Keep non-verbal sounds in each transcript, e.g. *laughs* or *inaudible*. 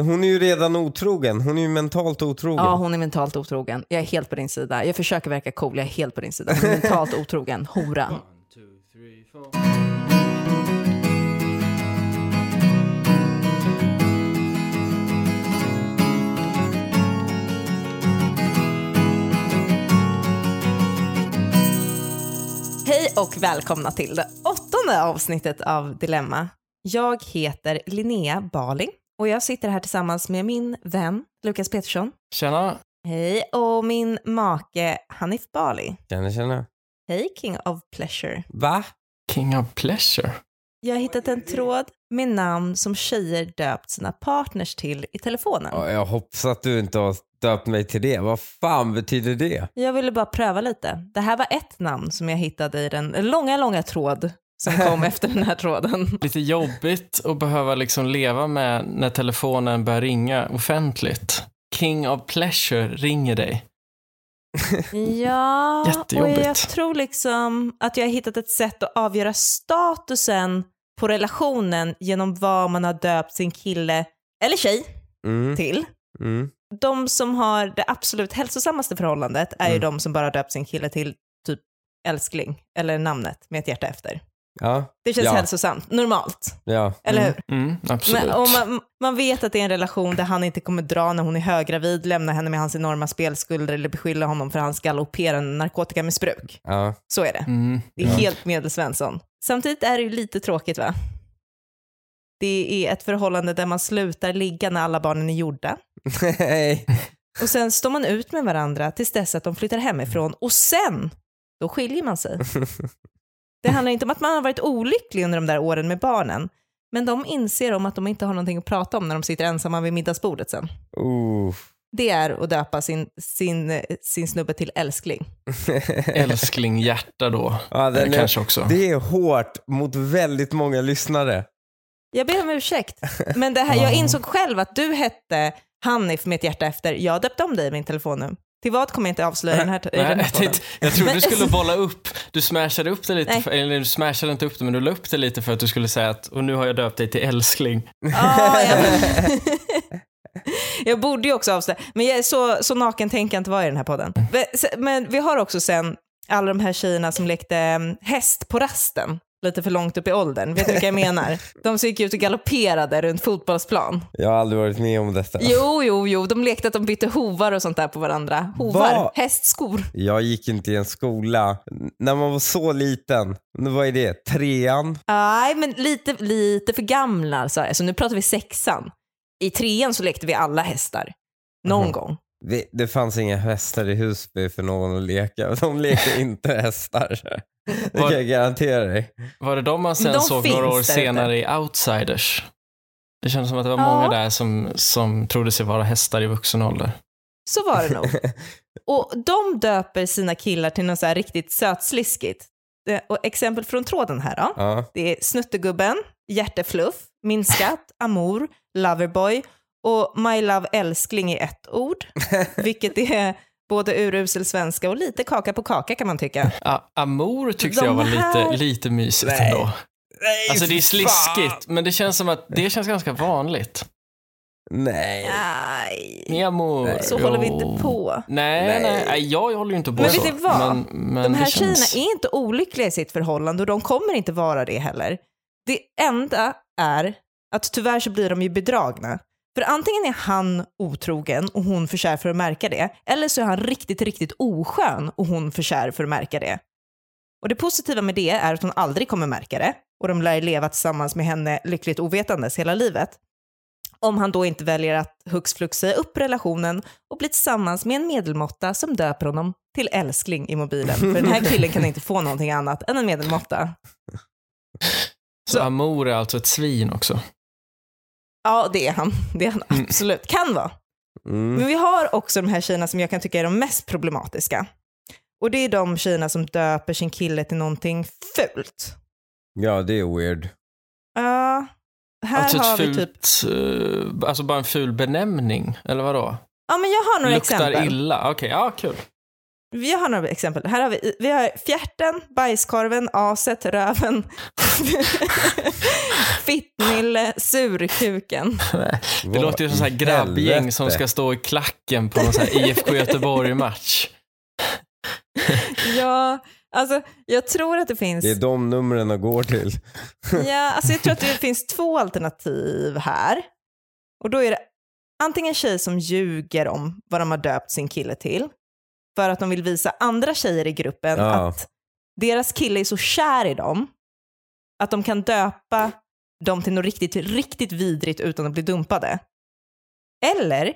Hon är ju redan otrogen. Hon är ju mentalt otrogen. Ja, hon är mentalt otrogen. Jag är helt på din sida. Jag försöker verka cool, jag är helt på din sida. Hon är mentalt otrogen, *laughs* horan. Hej och välkomna till det åttonde avsnittet av Dilemma. Jag heter Linnea Baling och jag sitter här tillsammans med min vän Lukas Petersson. Tjena! Hej och min make Hanif Bali. Tjena, tjena. Hej King of Pleasure. Va? King of pleasure. Jag har hittat en tråd med namn som tjejer döpt sina partners till i telefonen. Ja, jag hoppas att du inte har döpt mig till det. Vad fan betyder det? Jag ville bara pröva lite. Det här var ett namn som jag hittade i den långa, långa tråd som kom efter den här tråden. Lite jobbigt att behöva liksom leva med när telefonen börjar ringa offentligt. King of pleasure ringer dig. Ja, och Jättejobbigt. jag tror liksom att jag har hittat ett sätt att avgöra statusen på relationen genom vad man har döpt sin kille eller tjej Mm, till. mm. De som har det absolut hälsosammaste förhållandet är ju Mm. de som bara har döpt sin kille till typ älskling eller namnet med ett hjärta efter. Ja, Det känns Ja. hälsosamt, normalt, ja. eller hur? Mm, absolut. Men om man, man vet att det är en relation där han inte kommer dra när hon är höggravid, lämna henne med hans enorma spelskulder eller beskylla honom för hans galopperande narkotikamissbruk. ja. *laughs* Så är det. Mm. Det är helt medelsvensson. Samtidigt är det ju lite tråkigt va? Det är ett förhållande där man slutar ligga när alla barnen är gjorda. Nej. Och sen står man ut med varandra tills dess att de flyttar hemifrån och sen, då skiljer man *laughs* sig. Det handlar inte om att man har varit olycklig under de där åren med barnen, men de inser om att de inte har någonting att prata om när de sitter ensamma vid middagsbordet sen. Oh. *laughs* Det är att döpa sin, sin, sin snubbe till älskling. Älskling hjärta då. ja, Eller den är, kanske också. det är hårt mot väldigt många lyssnare. Jag ber om *laughs* ursäkt, men det här, jag insåg själv att du hette Hanif med ett hjärta efter. Jag döpte om dig i min telefon nu. Till vad kommer jag inte avslöja i den här, i Nej, den här jag, podden. tänkte, jag trodde Men- du skulle bolla upp. Du smashade upp det lite. Nej. För, eller du smashade inte upp det, men du la upp det lite för att du skulle säga att och nu har jag döpt dig till älskling. Ja, jag... jag borde ju också avslöja, men jag är så, så naken tänker jag inte vara i den här podden. Men- se- Men vi har också sen alla de här tjejerna som lekte mm, häst på rasten lite för långt upp i åldern. Vet du vilka jag menar? De som gick ut och galopperade runt fotbollsplan. Jag har aldrig varit med om detta. Jo, jo, jo, de lekte att de bytte hovar och sånt där på varandra. Hovar, Va? hästskor. Jag gick inte i en skola. N- När man var så liten, nu, vad är det? Trean? Nej, men lite, lite för gamla så här. Så nu pratar vi sexan. I trean så lekte vi alla hästar. Någon Mhm. gång. Det, det fanns inga hästar i Husby för någon att leka. De lekte inte hästar. Det kan jag garantera dig. Var det de man sen De såg finns några där år ute. senare i Outsiders? Det kändes som att det var Ja. många där som, som trodde sig vara hästar i vuxen ålder. Så var det nog. Och de döper sina killar till något så här riktigt sötsliskigt. Eh, Och exempel från tråden här då. Ja. Det är Snuttegubben, Hjärtefluff, Min skatt, Amour, Loverboy och My Love Älskling i ett ord. Vilket är både urusel svenska och lite kaka på kaka kan man tycka. A- Amour tyckte De jag var här- lite, lite mysigt Nej. ändå. Nej, Alltså det är fy sliskigt, fan. men det känns som att det känns ganska vanligt. Nej. Nej, Ni amour. så håller vi Jo. inte på. Nej, Nej. nej. nej jag, jag håller ju inte på Men så. vet du vad? Men, men De här det känns... tjejerna är inte olyckliga i sitt förhållande och de kommer inte vara det heller. Det enda är att tyvärr så blir de ju bedragna. För antingen är han otrogen och hon för kär för att märka det, eller så är han riktigt, riktigt oskön och hon för kär för att märka det. Och det positiva med det är att hon aldrig kommer märka det och de lär leva tillsammans med henne lyckligt ovetandes hela livet. Om han då inte väljer att hux flux säga upp relationen och bli tillsammans med en medelmåtta som döper honom till älskling i mobilen. För den här killen kan inte få någonting annat än en medelmåtta. Så amour är alltså ett svin också. Ja, det är han. Det är han absolut. Kan vara. Mm. Men vi har också de här tjejerna som jag kan tycka är de mest problematiska. Och det är de tjejerna som döper sin kille till någonting fult. Ja, det är weird. Ja, här alltså har ett vi typ... fult, eh, alltså bara en ful benämning, eller vadå? Ja, men jag har några Luktar exempel. illa, okej, ja kul. Vi har några exempel. Här har vi, vi har fjärten, bajskorven, aset, röven, *laughs* fittnille, surkuken. Det låter ju som så här i grabbgäng som helvete? ska stå i klacken på någon så här IFK Göteborg-match. Ja, alltså jag tror att det finns... Det är de numren de går till. *laughs* Ja, alltså jag tror att det finns två alternativ här. Och då är det antingen tjejer som ljuger om vad de har döpt sin kille till för att de vill visa andra tjejer i gruppen Ja. att deras kille är så kär i dem att de kan döpa dem till något riktigt, riktigt vidrigt utan att bli dumpade. Eller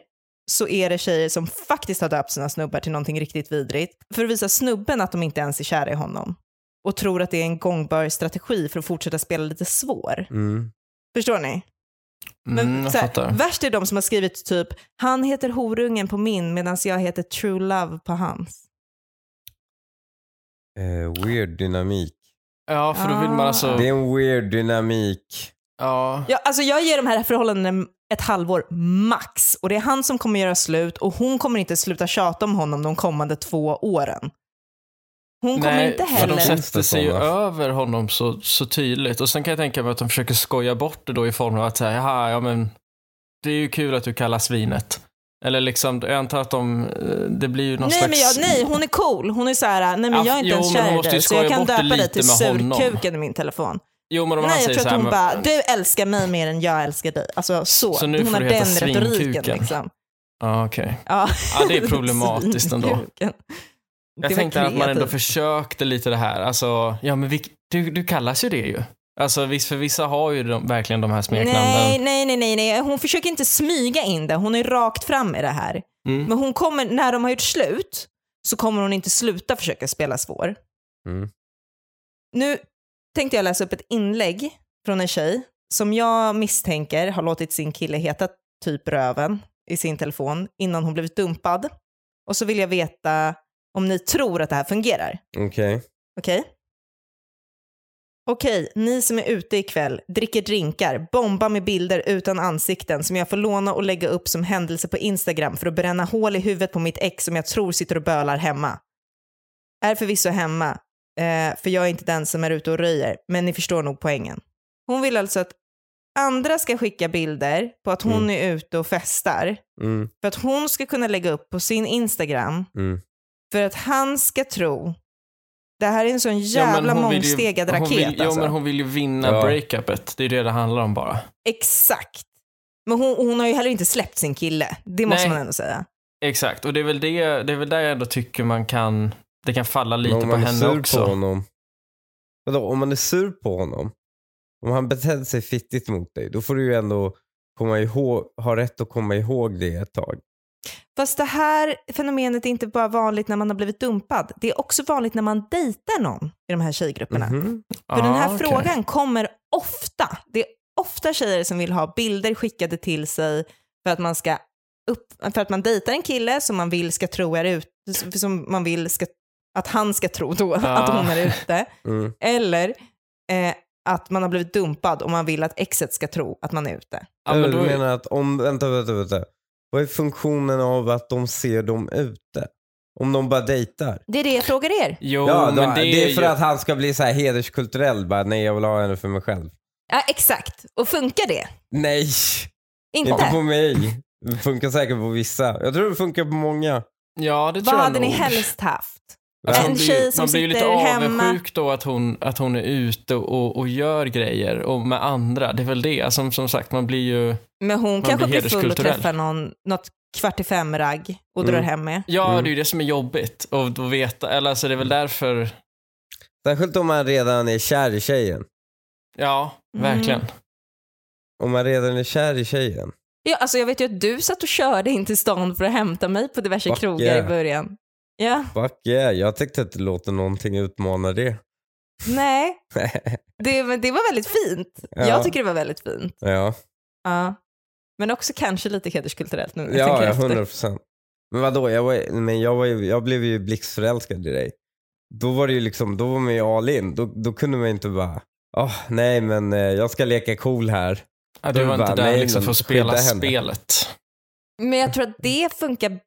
så är det tjejer som faktiskt har döpt sina snubbar till någonting riktigt vidrigt för att visa snubben att de inte ens är kära i honom och tror att det är en gångbar strategi för att fortsätta spela lite svår. Mm. Förstår ni? *laughs* Men Mm, jag så här, fattar. värst är de som har skrivit typ “han heter horungen på min medan jag heter true love på hans”. Eh, weird dynamik. Ja, för då vill man alltså... Det är en weird dynamik. Ja. Ja, alltså jag ger de här förhållandena ett halvår max och det är han som kommer göra slut och hon kommer inte sluta tjata om honom de kommande två åren. Hon kommer inte för heller... de sätter sig ju Sådana. över honom så, så tydligt. Och sen kan jag tänka mig att de försöker skoja bort det då i form av att säga, "Jaha, ja men det är ju kul att du kallar svinet. Eller liksom, jag antar att de, eh, det blir ju någon Nej, slags... men jag, nej, hon är cool. Hon är så här, nej men Ja, jag är inte jo, ens men hon kär i måste ju dig så jag skoja kan bort det döpa dig lite till med honom. surkuken i min telefon. Jo, men om han Nej, jag säger tror så att här, hon men- bara, du älskar mig mer än jag älskar dig. Alltså så. Så nu hon får har du heta den retoriken svinkuken. liksom. Ja, okej. Ja. Ja, *laughs* det är problematiskt ändå. Svinkuken. Det Jag var tänkte att man ändå kreativt. försökte lite det här, alltså, ja men vi, du, du kallas ju det ju. Alltså visst, för vissa har ju de, verkligen de här Nej, smeknamnen. nej, nej, nej, nej. Hon försöker inte smyga in det. Hon är rakt fram i det här. Mm. Men hon kommer, när de har gjort slut så kommer hon inte sluta försöka spela svår. Mm. Nu tänkte jag läsa upp ett inlägg från en tjej som jag misstänker har låtit sin kille heta typ röven i sin telefon innan hon blivit dumpad. Och så vill jag veta om ni tror att det här fungerar. Okej. Okej? Okej, ni som är ute ikväll, dricker drinkar, bombar med bilder utan ansikten som jag får låna och lägga upp som händelse på Instagram för att bränna hål i huvudet på mitt ex som jag tror sitter och bölar hemma. Är förvisso hemma, eh, för jag är inte den som är ute och röjer, men ni förstår nog poängen. Hon vill alltså att andra ska skicka bilder på att hon Mm. är ute och festar Mm, för att hon ska kunna lägga upp på sin Instagram mm. för att han ska tro... Det här är en sån Ja, men jävla hon vill ju- mångstegad hon raket vill, Jo, alltså. men hon vill ju vinna Ja. breakupet. Det är det det handlar om bara. Exakt. Men hon, hon har ju heller inte släppt sin kille. Det måste Nej. man ändå säga. Exakt, och det är väl, det, det är väl där jag ändå tycker man kan, det kan falla lite Men om på man är henne sur också. på honom. Vadå, om man är sur på honom? Om han betedde sig fittigt mot dig, då får du ju ändå komma ihåg, ha rätt att komma ihåg det ett tag. Fast det här fenomenet är inte bara vanligt när man har blivit dumpad. Det är också vanligt när man dejtar någon i de här tjejgrupperna. Mhm. För den här Ja, Ah, okej. frågan kommer ofta. Det är ofta tjejer som vill ha bilder skickade till sig för att man ska upp, för att man dejtar en kille som man vill ska tro är ut, som man vill ska, att han ska tro då *laughs* att Ah. hon är ute. Mm. Eller eh, att man har blivit dumpad och man vill att exet ska tro att man är ute. Ja, Eller men du då, menar att om, vänta, vänta, vänta. Vad är funktionen av att de ser dem ute? Om de bara dejtar? Det är det jag frågar er. jo, ja, då, men det, är för ju- att han ska bli så här hederskulturell. Bara, nej, jag vill ha henne för mig själv. Ja, exakt. Och funkar det? Nej, Inte? inte på mig. Det funkar säkert på vissa. Jag tror det funkar på många. Ja, det tror Vad jag hade ni nog. helst haft? Alltså, En man blir ju- tjej som Man blir ju lite sitter hemma. avundsjuk då att hon, att hon är ute och, och gör grejer och med andra. Det är väl det. Som, som sagt, man blir ju... Men hon kanske blir blir full och hederskulturell. träffar någon, något kvart i fem-ragg och Mm. drar hem med. Ja, Mm. det är ju det som är jobbigt. Och då veta, eller alltså det är väl Mm. därför... Särskilt om man redan är kär i tjejen. Ja, Mm. verkligen. Om man redan är kär i tjejen. Ja, alltså jag vet ju att du satt och körde in till stan för att hämta mig på diverse Fuck krogar yeah. i början. Ja, Fuck yeah, jag tyckte att det låter någonting utmana det. *laughs* nej. Det, men det var väldigt fint. Ja. Jag tycker det var väldigt fint. Ja, Ja. Men också kanske lite hederskulturellt nu när jag ja, tänker ja efter. 100 procent. Men vadå, jag, var, men jag, var, ju- jag blev ju blixtförälskad i dig. Då var det ju liksom, då var man ju all in. Då, då kunde man ju inte bara, åh nej men eh, jag ska leka cool här. Ja, Då är det du var inte bara, där nej, liksom men för att spela skydda henne. spelet. Men jag tror att det funkar bättre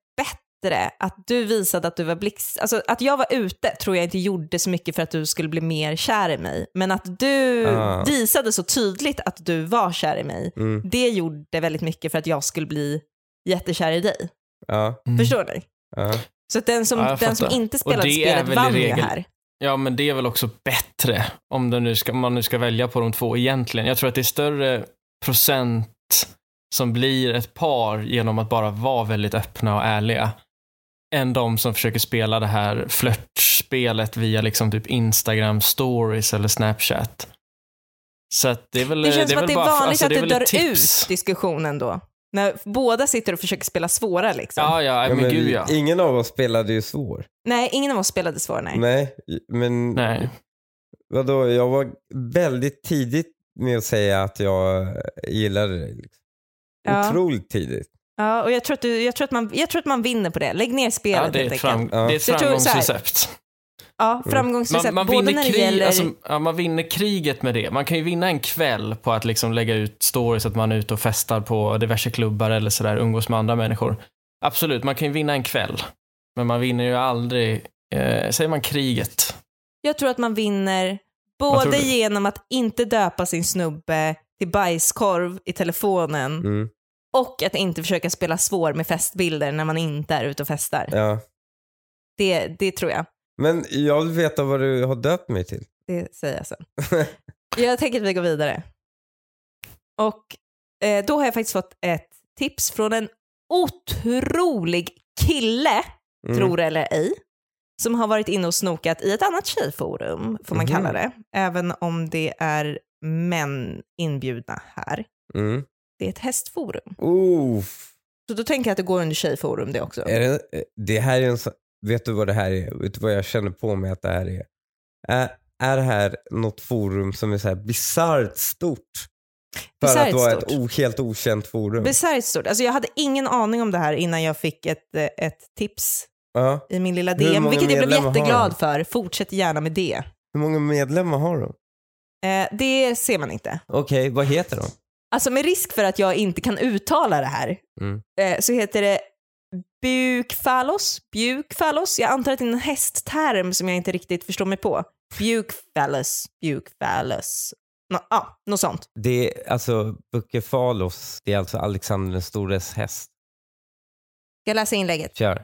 bättre att du visade att du var blixt... Alltså att jag var ute tror jag inte gjorde så mycket för att du skulle bli mer kär i mig. Men att du Ah. visade så tydligt att du var kär i mig, Mm. det gjorde väldigt mycket för att jag skulle bli jättekär i dig. Ja, Mm. Förstår ni? ja. Så att den som, Ja, jag den som fattar. inte Och spelade det är spelet väl i vann ju regel- här. Ja, men det är väl också bättre om den nu ska, man nu ska välja på de två egentligen. Jag tror att det är större procent som blir ett par genom att bara vara väldigt öppna och ärliga än de som försöker spela det här flörtspelet via liksom typ Instagram stories eller Snapchat. Så att det är väl Det känns som är väl att det är bara, vanligt alltså, att är det väl ett dör tips. ut diskussionen då. När båda sitter och försöker spela svåra liksom. Ja, ja, Ja, men, men gud ja. Ingen av oss spelade ju svår. Nej, ingen av oss spelade svåra, nej. Nej, men Nej. vadå, jag var väldigt tidigt med att säga att jag gillade dig. Liksom. Ja. Otroligt tidigt. Ja, och jag tror, att du, jag, tror att man, jag tror att man vinner på det. Lägg ner spelet Ja, det, är helt ett enkelt. fram, Ja. det är ett Jag tror så här- framgångsrecept. Ja, framgångsrecept. Man, man, Både vinner när det krig, gäller... alltså, ja, man vinner kriget med det. Man kan ju vinna en kväll på att liksom lägga ut stories att man är ute och festar på diverse klubbar eller sådär, umgås med andra människor. Absolut, man kan ju vinna en kväll. Men man vinner ju aldrig, eh, säger man kriget? Jag tror att man vinner Vad tror både du? genom att inte döpa sin snubbe till bajskorv i telefonen Mm. och att inte försöka spela svår med festbilder när man inte är ute och festar. Ja. Det, det tror jag. Men jag vill veta vad du har döpt mig till. Det säger jag sen. jag tänker att vi går vidare. Och eh, då har jag faktiskt fått ett tips från en otrolig kille, Mm. tror det eller ej, som har varit inne och snokat i ett annat tjejforum, får man Mhm. kalla det, även om det är män inbjudna här. Mm. Det är ett hästforum. Oof. Så då tänker jag att det går under tjejforum det också. Är det, eh, det här är en så- Vet du vad det här är? Vet du vad jag känner på mig att det här är? Är, är det här något forum som är så här bisarrt stort? För Bisarrt att vara stort. ett o, helt okänt forum? Bisarrt stort. Alltså jag hade ingen aning om det här innan jag fick ett, eh, ett tips ja. i min lilla Hur DM, många vilket jag blev medlemmar har jätteglad de? för. Fortsätt gärna med det. Hur många medlemmar har de? Eh, det ser man inte. Okej, vad heter de? Alltså med risk för att jag inte kan uttala det här Mm. eh, så heter det bukfallos, bukfallos. Jag antar att det är en hästterm som jag inte riktigt förstår mig på. Bukfallos, bukfallos. Nå, ja, något sånt. Det är alltså Bukefalos, det är alltså Alexander den stores häst. Jag läser inlägget. Kör.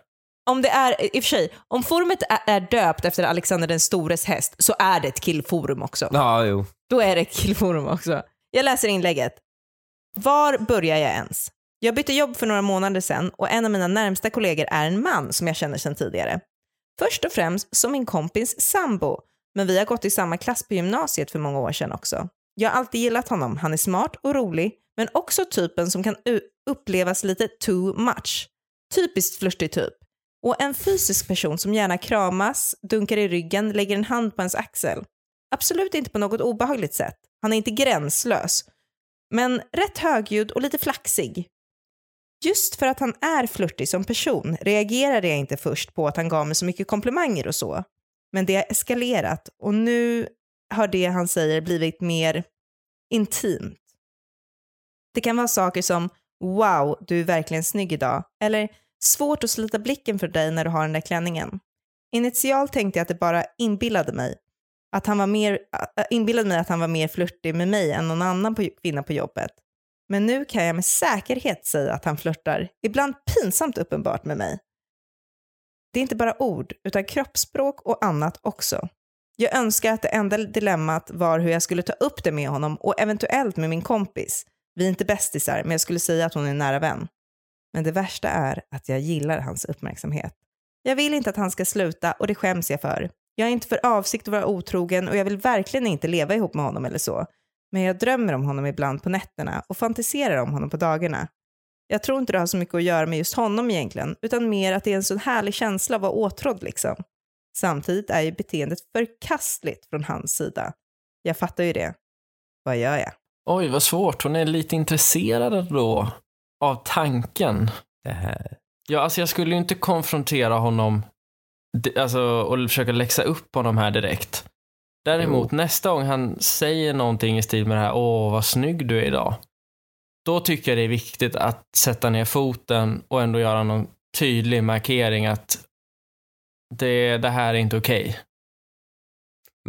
Om det är, i och för sig, om forumet är, är döpt efter Alexander den stores häst så är det ett killforum också. Ja, jo. Då är det killforum också. Jag läser inlägget. Var börjar jag ens? Jag bytte jobb för några månader sedan och en av mina närmsta kollegor är en man som jag känner sedan tidigare. Först och främst som min kompis sambo, men vi har gått i samma klass på gymnasiet för många år sedan också. Jag har alltid gillat honom, han är smart och rolig, men också typen som kan u- upplevas lite too much. Typiskt flörtig typ. Och en fysisk person som gärna kramas, dunkar i ryggen, lägger en hand på ens axel. Absolut inte på något obehagligt sätt. Han är inte gränslös. Men rätt högljudd och lite flaxig. Just för att han är flörtig som person reagerade jag inte först på att han gav mig så mycket komplimanger och så. Men det har eskalerat och nu har det han säger blivit mer intimt. Det kan vara saker som “Wow, du är verkligen snygg idag” eller “Svårt att slita blicken för dig när du har den där klänningen”. Initialt tänkte jag att det bara inbillade mig, att han var mer, äh, inbillade mig att han var mer flörtig med mig än någon annan på, kvinna på jobbet. Men nu kan jag med säkerhet säga att han flörtar, ibland pinsamt uppenbart med mig. Det är inte bara ord, utan kroppsspråk och annat också. Jag önskar att det enda dilemmat var hur jag skulle ta upp det med honom och eventuellt med min kompis. Vi är inte bästisar, men jag skulle säga att hon är en nära vän. Men det värsta är att jag gillar hans uppmärksamhet. Jag vill inte att han ska sluta och det skäms jag för. Jag har inte för avsikt att vara otrogen och jag vill verkligen inte leva ihop med honom eller så. Men jag drömmer om honom ibland på nätterna och fantiserar om honom på dagarna. Jag tror inte det har så mycket att göra med just honom egentligen, utan mer att det är en sån härlig känsla av att vara åtrådd liksom. Samtidigt är ju beteendet förkastligt från hans sida. Jag fattar ju det. Vad gör jag? Oj, vad svårt. Hon är lite intresserad då av tanken. Det här. Ja, alltså jag skulle ju inte konfrontera honom d- alltså, och försöka läxa upp honom här direkt. Däremot nästa gång han säger någonting i stil med det här, åh vad snygg du är idag. Då tycker jag det är viktigt att sätta ner foten och ändå göra någon tydlig markering att det, det här är inte okej.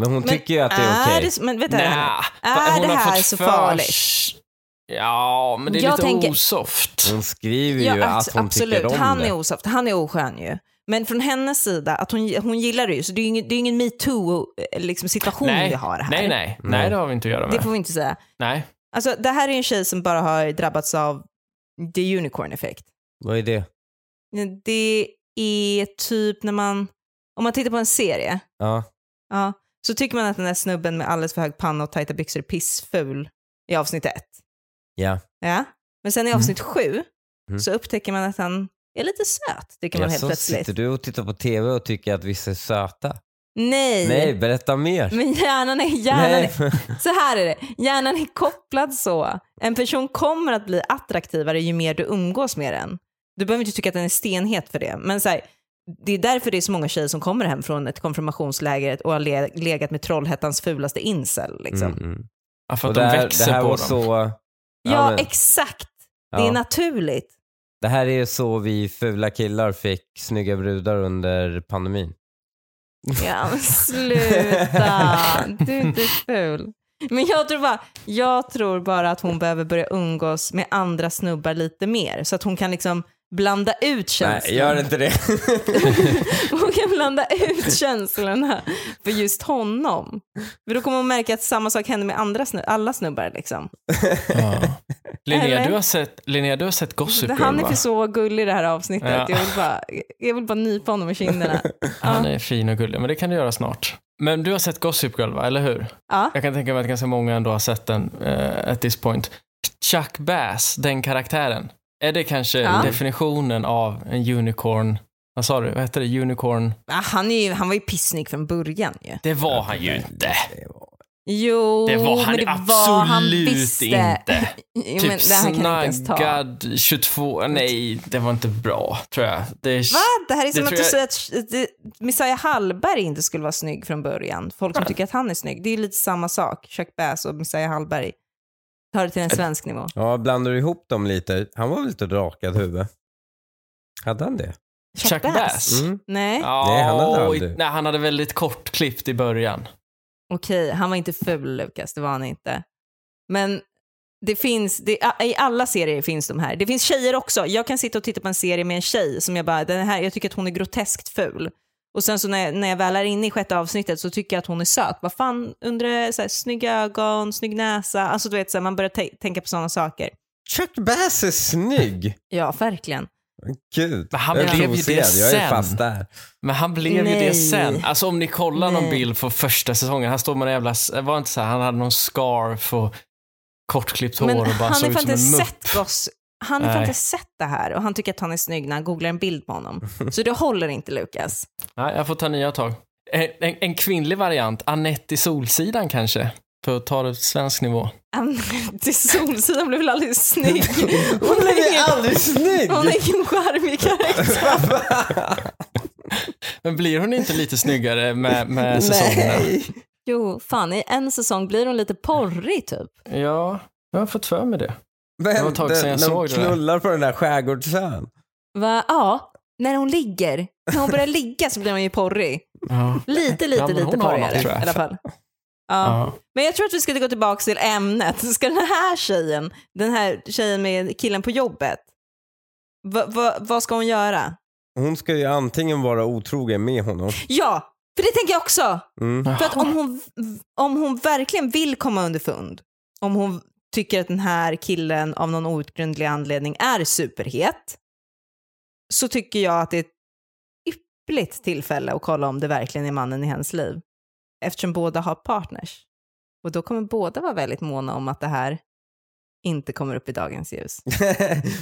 Men hon tycker ju att det är okej. det- Men vänta, Nja, Är Ah, hon det har här fått så för- farligt? Ja, men det är Jag lite tänker- osoft. Hon skriver ju ja, att, abs- hon absolut. tycker om han det. är osoft, han är oskön ju. Men från hennes sida, att hon, hon gillar det ju, så det är ju ingen, det är ingen metoo-situation liksom, situation nej, vi har här. nej, nej, Mm. nej, det har vi inte att göra med. Det får vi inte säga. Nej. Alltså, det här är en tjej som bara har drabbats av the unicorn effekt. Vad är det? Det är typ när man, om man tittar på en serie, Ja. ja, så tycker man att den där snubben med alldeles för hög panna och tajta byxor är pissful i avsnitt ett. Ja. Ja. Men sen i avsnitt sju Mm. så upptäcker man att han är lite söt, tycker man helt så plötsligt. sitter du och tittar på TV och tycker att vissa är söta? Nej. Nej, berätta mer. Men hjärnan är, hjärnan Nej, Mm, är, *laughs* men- så här är det, hjärnan är kopplad så. En person kommer att bli attraktivare ju mer du umgås med den. Du behöver inte tycka att den är stenhet för det, men så här, det är därför det är så många tjejer som kommer hem från ett konfirmationsläger och har le- legat med Trollhättans fulaste incel. Liksom. Mm, mm. Ja, för Och att det de här, växer det här på var dem. så... Ja, Ja, men- exakt. Det är Ja. naturligt. Det här är så vi fula killar fick snygga brudar under pandemin. Ja, *laughs* men sluta. Du är inte ful. Men jag tror, bara, jag tror bara att hon behöver börja umgås med andra snubbar lite mer så att hon kan liksom blanda ut Nej, känslorna. gör inte det. *laughs* Hon kan blanda ut känslorna för just honom. För då kommer hon märka att samma sak händer med andra snu- alla snubbar. Liksom. Ja. *laughs* Linnea, Eller? du har sett, Linnea, du har sett Gossip Det, Girl, han är va? för så gullig i det här avsnittet. Typ Ja. Jag, vill bara, jag vill bara nypa honom i *laughs* kinderna. Han är fin och gullig, men det kan du göra snart. Men du har sett Gossip Girl, va? eller hur? Ja. Jag kan tänka mig att ganska många ändå har sett den eh, at this point. Chuck Bass, den karaktären. Är det kanske Ja. definitionen av en unicorn? Vad sa du? Vad hette det? Unicorn? Ja, Han, är ju, han var ju pissnig från början ju. Det var han ju inte. Jo, Det var han Oh, men det absolut var han visste. inte. Jo, *laughs* typ men det här kan jag inte ens ta. snaggad 22. Nej, det var inte bra tror jag. Det är... Va? Det här är som tror att du jag- säger att det, Messiah Hallberg inte skulle vara snygg från början. Folk som Ah. tycker att han är snygg. Det är ju lite samma sak. Chuck Bass och Messiah Hallberg. Tar det till en svensk nivå. Ja, blandar du ihop dem lite? Han var väl inte rakad huvud? Hade han det? Chuck Bass? Mm. Nej, Ja, Nej, han hade oj, aldrig- nej, han hade väldigt kortklippt i början. okej, han var inte ful Lukas, det var han inte. Men det finns, det, i alla serier finns de här. Det finns tjejer också. Jag kan sitta och titta på en serie med en tjej som jag bara, den här, jag tycker att hon är groteskt ful. Och sen så när jag, när jag väl är inne i sjätte avsnittet så tycker jag att hon är söt. Vad fan, undrar, så här, snygga ögon, snygg näsa. Alltså du vet, så här, man börjar tä- tänka på sådana saker. Chuck Bass är *laughs* snygg! Ja, verkligen. Gud, Men han jag är blev ju det provocerad. Jag är sen. fast *laughs* där. Men han blev ju Nej. det sen. Alltså om ni kollar någon Nej. bild från första säsongen, han står med en jävla, eh, var det inte så här, han hade någon scarf och kortklippt hår Men och bara han såg har ut fan som inte en mupp. sett Goss. Han har fan Nej. inte sett det här och han tycker att han är snygg när han googlar en bild på *laughs* honom. Så det håller inte Lukas. Nej, jag får ta nya tag. En, en, en kvinnlig variant, Anette i Solsidan kanske, för att ta det till svensk nivå. Till Solsidan blev väl aldrig snygg. *laughs* Hon Hon är blev ingen, aldrig snygg! hon är ingen charmig karaktär. Men blir hon inte lite snyggare med, med säsongerna? Nej! Jo, fan i en säsong blir hon lite porrig typ. Ja, jag har fått för mig det. *laughs* Men, Det var ett tag sedan jag när hon såg det där. knullar på den där skärgårdsön. Va? Ja, när hon ligger. När hon börjar ligga så blir hon ju porrig. Ja. Lite, lite, Ja, men hon lite har något, porrigare tror jag. i alla fall. Ja. Ja. Men jag tror att vi ska gå tillbaka till ämnet. Ska den här tjejen, den här tjejen med killen på jobbet, va, va, vad ska hon göra? Hon ska ju antingen vara otrogen med honom. Ja, för det tänker jag också. Mm. *laughs* För att om hon, om hon verkligen vill komma underfund, om hon tycker att den här killen av någon outgrundlig anledning är superhet, så tycker jag att det är ett ypperligt tillfälle att kolla om det verkligen är mannen i hennes liv. Eftersom båda har partners. Och då kommer båda vara väldigt måna om att det här inte kommer upp i dagens ljus.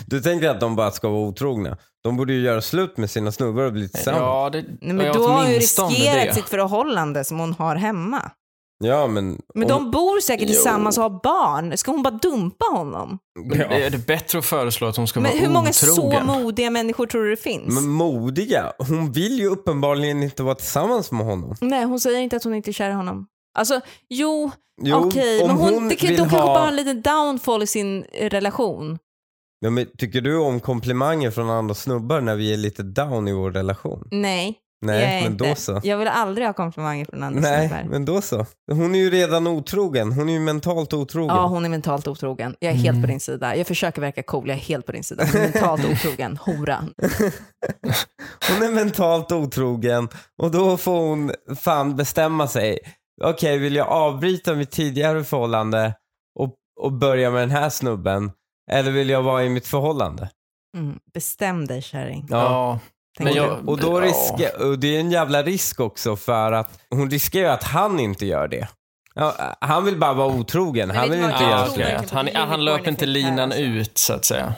du tänker att de bara ska vara otrogna. De borde ju göra slut med sina snubbar och bli tillsammans. Ja, Ja, det, Nej, men jag då har hon ju åtminstone riskerat det. sitt förhållande som hon har hemma. men... Men de bor säkert Jo. tillsammans och har barn. Ska hon bara dumpa honom? ja. Men Är det bättre att föreslå att hon ska Men vara hur många så otrogen? modiga människor tror du det finns? Men modiga. Hon vill ju uppenbarligen inte vara tillsammans med honom. Nej, hon säger inte att hon inte är kär i honom. Alltså, jo, Jo, okej, om men hon, hon det, kan- vill de kanske ha- bara har en liten downfall i sin eh, relation. Ja, men tycker du om komplimanger från andra snubbar när vi är lite down i vår relation? Nej, Nej, det gör jag men inte. då så. Jag vill aldrig ha komplimanger från andra Nej, snubbar. men då så. Hon är ju redan otrogen. Hon är ju mentalt otrogen. Ja, hon är mentalt otrogen. Jag är helt Mm. på din sida. Jag försöker verka cool, jag är helt på din sida. Hon är *laughs* mentalt otrogen, hora. Hon är mentalt otrogen och då får hon fan bestämma sig. Okej, vill jag avbryta mitt tidigare förhållande och, och börja med den här snubben? Eller vill jag vara i mitt förhållande? Mm. Bestäm dig kärring. Ja. tänker men du. jag, Och, då ja. risker, och det är en jävla risk också för att hon riskerar att han inte gör det. Ja, han vill bara vara otrogen. Men Han vet vill du vad, inte jag göra Ja, tror fler. okej. Att han, verkligen på han löper inte unicorn-effekt här, linan alltså. ut så att säga.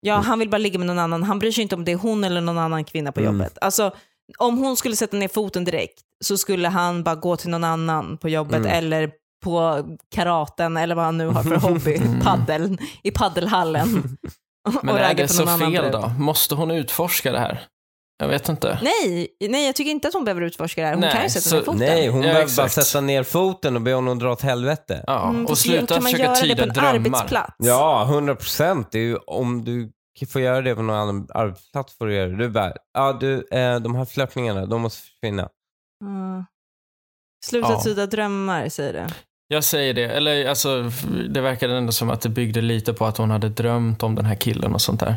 Ja, han vill bara ligga med någon annan. Han bryr sig inte om det är hon eller någon annan kvinna på Mm. jobbet. Alltså, om hon skulle sätta ner foten direkt så skulle han bara gå till någon annan på jobbet Mm. eller på karaten eller vad han nu *laughs* har för hobby, Mm. paddel, i paddelhallen. *laughs* Men är ragga det på så någon annan fel brud. då? Måste hon utforska det här? Jag vet inte. Nej, nej, jag tycker inte att hon behöver utforska det här. Hon Nej, kan ju sätta så- ner foten. Nej, hon Ja, behöver bara exakt. sätta ner foten och be honom dra åt helvete. Ja, Mm, och fast sluta kan man försöka göra tyda det på en drömmar. arbetsplats? Ja, 100 procent. Om du får göra det på någon annan arbetsplats får du göra det. Du bara, ja du, eh, de här flörtningarna, de måste försvinna. Mm. Sluta Ja. tyda drömmar, säger det. Jag säger det. Eller alltså, det verkade ändå som att det byggde lite på att hon hade drömt om den här killen och sånt där.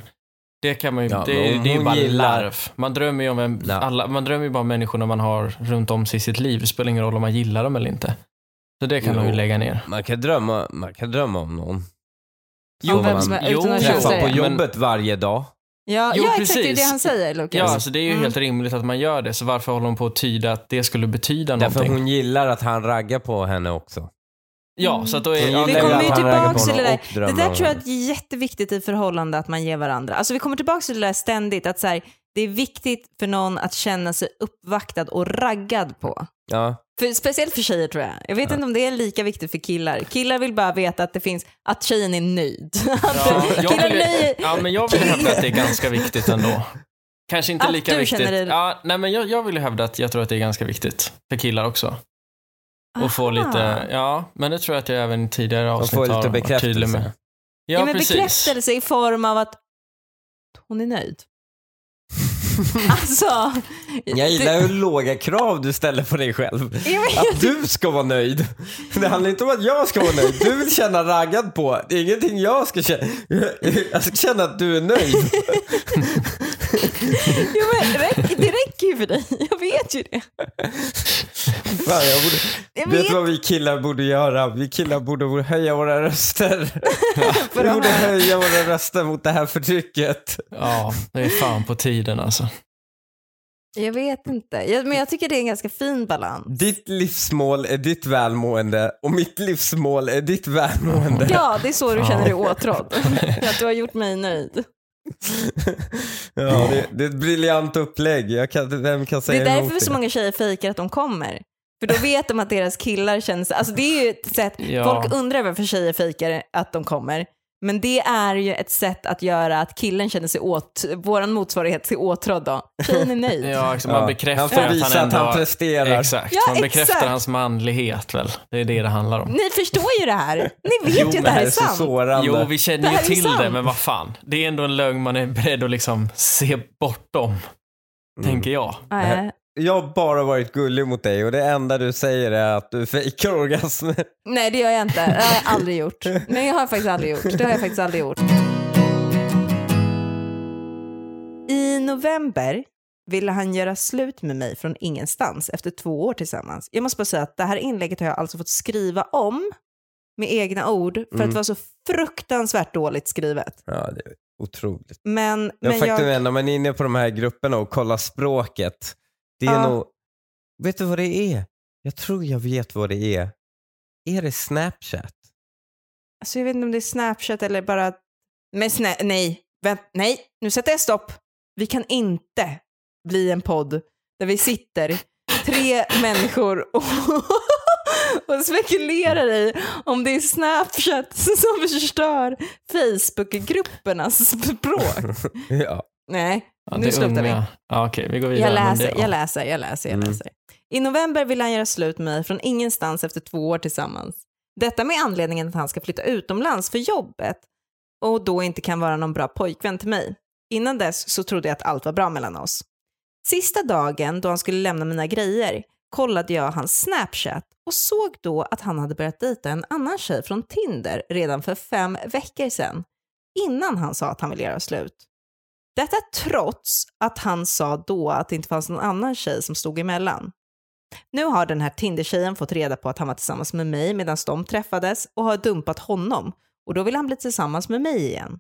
Det kan man ju, Ja, det, men är- om det är ju hon bara gillar- larv. Man drömmer ju om en, Ja. alla, man drömmer ju bara om människorna man har runt om sig i sitt liv. Det spelar ingen roll om man gillar dem eller inte. Så det kan Jo. man ju lägga ner. Man kan drömma, man kan drömma om någon. Jo, Som vem man som är- jo, utan att träffar känna träffar sig. på men- jobbet varje dag. Ja, Jo, ja exakt, det är det precis. han säger, Lukas. Ja, alltså det är ju Mm. helt rimligt att man gör det. Så varför håller hon på att tyda att det skulle betyda Därför någonting? hon gillar att han raggar på henne också. Ja, så att då är... Hon Ja, gillar Vi kommer att ju han tillbaks raggar på till det henne där. och Det drömmer där om tror jag henne. är jätteviktigt i förhållande, att man ger varandra. Alltså vi kommer tillbaka till det där ständigt, att så här, det är viktigt för någon att känna sig uppvaktad och raggad på. Ja. För, speciellt för tjejer tror jag. Jag vet inte om det är lika viktigt för killar. Killar vill bara veta att det finns, att tjejen är nöjd. *laughs* Ja, jag killar vill- nöjer- Ja, men jag vill hävda att det är ganska viktigt ändå. Kanske inte Att lika du viktigt. känner dig- Ja, nej, men jag, jag vill ju hävda att jag tror att det är ganska viktigt för killar också. Och få Aha. lite, ja, men det tror jag att jag även i tidigare Och avsnitt får har lite varit tydlig med. bekräftelse. Ja, Ja, men precis. bekräftelse i form av att hon är nöjd. alltså, Jag det- gillar hur låga krav du ställer på dig själv. Jag vet. Att du ska vara nöjd. Det handlar inte om att jag ska vara nöjd. Du vill känna raggad på. Det är ingenting jag ska känna. Jag ska känna att du är nöjd. Jo, men det, räcker, det räcker ju för dig, jag vet ju det. Fan, jag borde... Jag Vet vet du vad vi killar borde göra? Vi killar borde höja våra röster. vi borde höja våra röster mot det här förtrycket. Ja, det är fan på tiden alltså. Jag vet inte, jag, men jag tycker det är en ganska fin balans. Ditt livsmål är ditt välmående och mitt livsmål är ditt välmående. Ja, det är så du Ja. känner dig åtrådd. För att du har gjort mig nöjd. *laughs* Ja, det, det är ett briljant upplägg. Jag kan, vem kan Det säga är emot därför det? så många tjejer fejkar att de kommer. För då vet de att deras killar känner sig... Alltså det är ju ett sätt... Ja. Folk undrar varför tjejer fejkar att de kommer. Men det är ju ett sätt att göra att killen känner sig åt... Våran motsvarighet till åtrådd då. Tjejen är nöjd. Ja, alltså, Ja, man bekräftar han får att visa han ändå... att han presterar. Exakt, Ja, man bekräftar exakt. hans manlighet väl. Det är det det handlar om. Ni förstår ju det här. Ni vet Jo, ju att men det här Det är är så sant. sårande. Jo, vi Det känner ju här är ju till det, sant. men vad fan. Det är ändå en lögn man är beredd att liksom se bortom, Mm. tänker jag. Nej. Jag har bara varit gullig mot dig och det enda du säger är att du *laughs* fejkar orgasmer. Nej, det gör jag inte. Det har jag aldrig gjort. Nej, jag har faktiskt aldrig gjort. Det har jag faktiskt aldrig gjort. I november ville han göra slut med mig från ingenstans efter två år tillsammans. Jag måste bara säga att det här inlägget har jag alltså fått skriva om med egna ord för att Mm. det var så fruktansvärt dåligt skrivet. Ja, det är otroligt. Men, Men men faktum jag... är, när man är inne på de här grupperna och kollar språket, det är Ja. nog... Vet du vad det är? Jag tror jag vet vad det är. Är det Snapchat? Alltså jag vet inte om det är Snapchat eller bara... Men snä... nej, vänt, nej, nu sätter jag stopp. Vi kan inte bli en podd där vi sitter, tre människor och, *laughs* och spekulerar i om det är Snapchat som förstör Facebookgruppernas språk. *laughs* Ja. Nej, Ja, nu det slutar vi. unga. Ja, okej, vi går vidare. Jag men läser, det, jag läser, jag läser, jag Mm. läser. I november vill han göra slut med mig från ingenstans efter två år tillsammans. Detta med anledningen att han ska flytta utomlands för jobbet. och då inte kan vara någon bra pojkvän till mig. Innan dess så trodde jag att allt var bra mellan oss. Sista dagen då han skulle lämna mina grejer kollade jag hans Snapchat och såg då att han hade börjat dejta en annan tjej från Tinder redan för fem veckor sedan, innan han sa att han ville göra slut. Detta trots att han sa då att det inte fanns någon annan tjej som stod emellan. Nu har den här Tinder-tjejen fått reda på att han var tillsammans med mig medan de träffades och har dumpat honom och då vill han bli tillsammans med mig igen.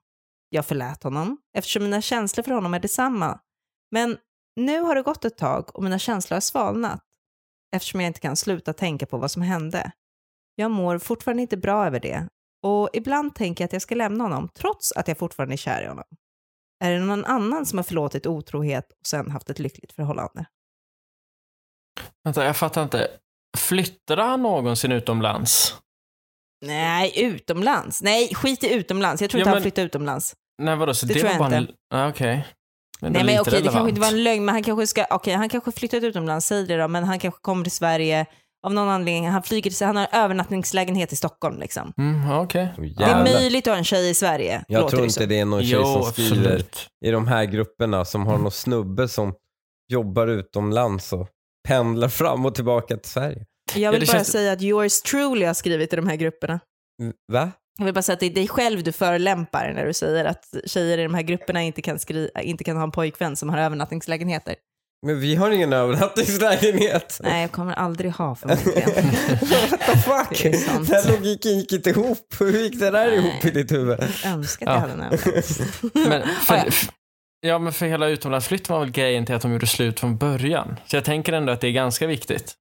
Jag förlät honom eftersom mina känslor för honom är detsamma. Men nu har det gått ett tag och mina känslor har svalnat eftersom jag inte kan sluta tänka på vad som hände. Jag mår fortfarande inte bra över det och ibland tänker jag att jag ska lämna honom trots att jag fortfarande är kär i honom. Är det någon annan som har förlåtit otrohet och sen haft ett lyckligt förhållande? Vänta, jag fattar inte. Flyttade han någonsin utomlands? Nej, utomlands. Nej, skit i utomlands. Jag tror Ja, inte han men- flyttade utomlands. Nej, vadå, så Det det, tror var jag inte. bara en... Nej, okej. Men Nej det men är lite okej, det kanske relevant. inte var en lögn, men han kanske ska, okej, han kanske flyttat utomlands, säger det då, men han kanske kommer till Sverige av någon anledning. Han flyger till, han har övernattningslägenhet i Stockholm liksom. Mm, okej. Åh, Ja, Det är jävlar. möjligt att ha en tjej i Sverige, Jag låter tror det inte som. det är någon tjej Jo, som skriver absolut. i de här grupperna som har någon snubbe som jobbar utomlands och pendlar fram och tillbaka till Sverige. Jag vill Ja, det bara känns- säga att yours truly har skrivit i de här grupperna. Mm, Va? Jag vill bara säga att det är dig själv du förelämpar när du säger att tjejer i de här grupperna inte kan, skri- inte kan ha en pojkvän som har övernattningslägenheter. Men vi har ingen övernattningslägenhet. Nej, jag kommer aldrig ha förmodligen. *laughs* What the fuck? Det är sant. Den logiken gick inte ihop. Hur gick det där ihop i ditt huvud? Jag önskar att jag Ja. hade en övernattning. Men *laughs* för, Ah, ja. f- ja, men för hela utomlandsflytten var väl grejen till att de gjorde slut från början. Så jag tänker ändå att det är ganska viktigt.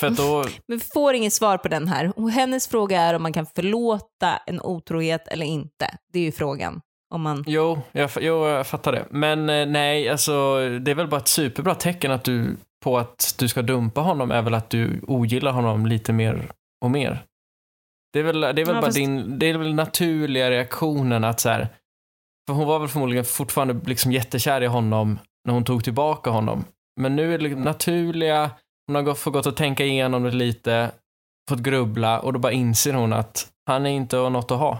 För att Mm. då, Men vi får inget svar på den här. Och hennes fråga är om man kan förlåta en otrohet eller inte. Det är ju frågan. Om man... jo, jag, fa- jo, jag fattar det. Men eh, nej, alltså det är väl bara ett superbra tecken att du, på att du ska dumpa honom är väl att du ogillar honom lite mer och mer. Det är väl, det är väl Ja, bara fast- din, det är väl naturliga reaktionen att så här, för hon var väl förmodligen fortfarande liksom jättekär i honom när hon tog tillbaka honom. Men nu är det liksom naturliga, hon har gått- fått gått och tänka igenom det lite, fått grubbla och då bara inser hon att han är inte något att ha.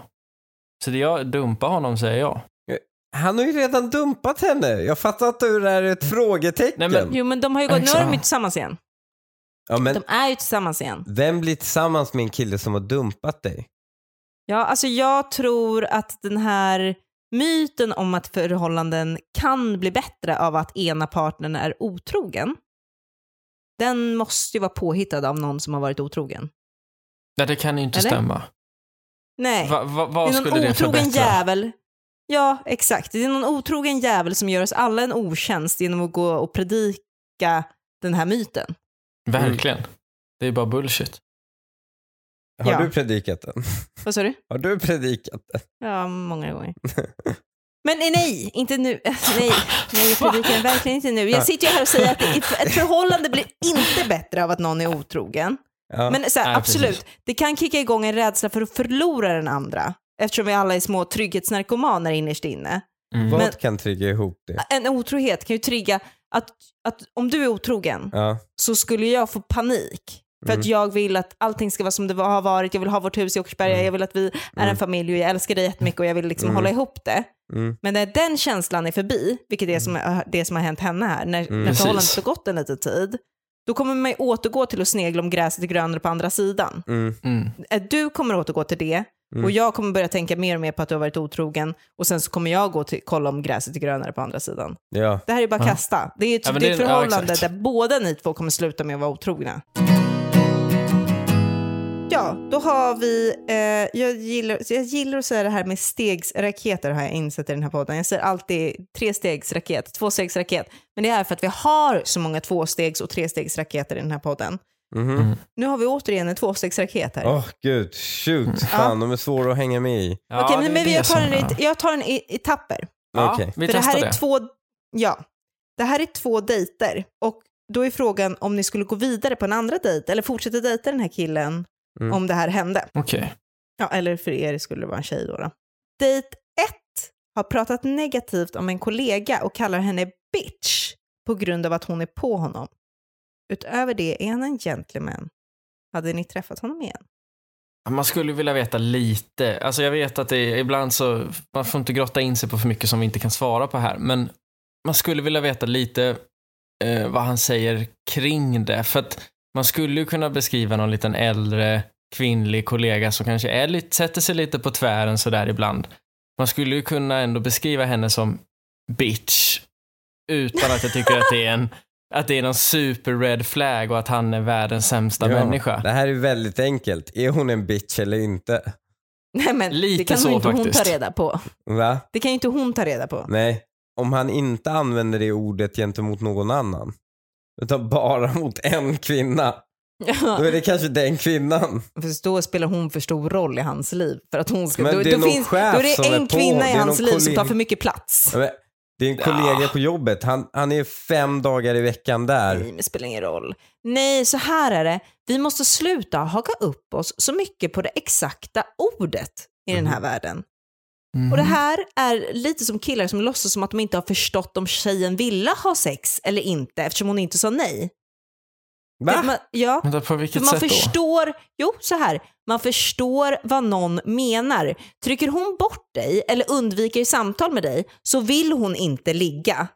Så det jag dumpa honom säger jag. Han har ju redan dumpat henne. Jag fattar inte hur det här är ett frågetecken. Nej, men- Jo men de har ju gått, nu är de ju tillsammans igen. ja, men De är ju tillsammans igen. vem blir tillsammans med en kille som har dumpat dig? Ja, alltså jag tror att den här myten om att förhållanden kan bli bättre av att ena partnern är otrogen, den måste ju vara påhittad av någon som har varit otrogen. Nej, det kan ju inte Eller? stämma. Nej. Va, va, Det vad är någon skulle det otrogen förbättra? jävel. Ja, exakt. Det är någon otrogen jävel som gör oss alla en otjänst genom att gå och predika den här myten. Verkligen. Det är bara bullshit. Har Ja. du predikat den? Vad sa du? Har du predikat den? Ja, många *laughs* gånger. Men eh, nej, inte nu. *laughs* Eh, Nej, nej predikan, verkligen inte nu. Jag sitter ju här och säger att det- *laughs* ett förhållande blir inte bättre av att någon är otrogen. Ja. Men så här, Nej, absolut, precis. det kan kicka igång en rädsla för att förlora den andra. Eftersom vi alla är små trygghetsnarkomaner innerst inne. Mm. Vad men- kan trigga ihop det? En otrohet kan ju trigga att, att om du är otrogen Ja. så skulle jag få panik. För att Mm. jag vill att allting ska vara som det var- har varit. Jag vill ha vårt hus i Åkersberga. Jag vill att vi är en familj och jag älskar dig jättemycket och jag vill liksom Mm. hålla ihop det. Mm. Men när den känslan är förbi, vilket är som, eh, det som har hänt henne här, när, Mm. när Precis. förhållandet har gått en liten tid, då kommer man ju återgå till att snegla om gräset är grönare på andra sidan. Mm. Mm. Eh, Du kommer återgå till det Mm. och jag kommer börja tänka mer och mer på att du har varit otrogen och sen så kommer jag gå till, kolla om gräset är grönare på andra sidan. Ja. Det här är bara Ja. kasta. Det är ett, Ja, men det är det- ett ja, förhållande exakt. där båda ni två kommer sluta med att vara otrogna. Ja, då har vi, eh, jag, gillar, så jag gillar att säga det här med stegsraketer har jag insett i den här podden. Jag säger alltid trestegsraket, tvåstegsraket. Men det är för att vi har så många tvåstegs och trestegsraketer i den här podden. Mhm. Åh Mm. Nu har vi återigen en tvåstegsraket här. Mm. gud, shoot. Fan, de är svåra att hänga med i. Ja, Okej, det är men, men det jag tar som- den i, jag tar den i, i tapper. Ja, Okej. vi För det testar här det. är två, ja, det här är två dejter och då är frågan om ni skulle gå vidare på en andra dejt eller fortsätta dejta den här killen Mm. om det här hände. Okej. Ja, eller för er skulle det vara en tjej då. då. Dejt 1 har pratat negativt om en kollega och kallar henne bitch på grund av att hon är på honom. Utöver det är han en gentleman. Hade ni träffat honom igen? *laughs* Man skulle vilja veta lite. Alltså jag vet att det är, ibland så, man får inte grotta in sig på för mycket som vi inte kan svara på här, men man skulle vilja veta lite eh, vad han säger kring det. För att man skulle ju kunna beskriva någon liten äldre kvinnlig kollega som kanske är lite, sätter sig lite på tvären sådär ibland. Man skulle ju kunna ändå beskriva henne som bitch utan att jag tycker att det är *laughs* en att det är någon super red flag och att han är världens sämsta Ja, människa. Det här är ju väldigt enkelt. Är hon en bitch eller inte? Nej men Lite det kan så ju inte faktiskt. hon ta reda på. Va? Det kan ju inte hon ta reda på. Nej. Om han inte använder det ordet gentemot någon annan, utan bara mot en kvinna, *laughs* då är det kanske den kvinnan. För då spelar hon för stor roll i hans liv. För att hon ska, Men då, det är då, någon finns, då chef är det som är en på. kvinna Det i är hans någon liv som kollega. tar för mycket plats. Ja, men Det är en kollega på jobbet. Han, han är fem dagar i veckan där. Nej, det spelar ingen roll. Nej, så här är det. Vi måste sluta haka upp oss så mycket på det exakta ordet i den Mhm. här världen. Mm. Och det här är lite som killar som låtsas som att de inte har förstått om tjejen ville ha sex eller inte eftersom hon inte sa nej. Va? Man, ja, Vänta, på vilket för man sätt då? förstår, jo så här, man förstår vad någon menar. Trycker hon bort dig eller undviker samtal med dig så vill hon inte Mm. ligga.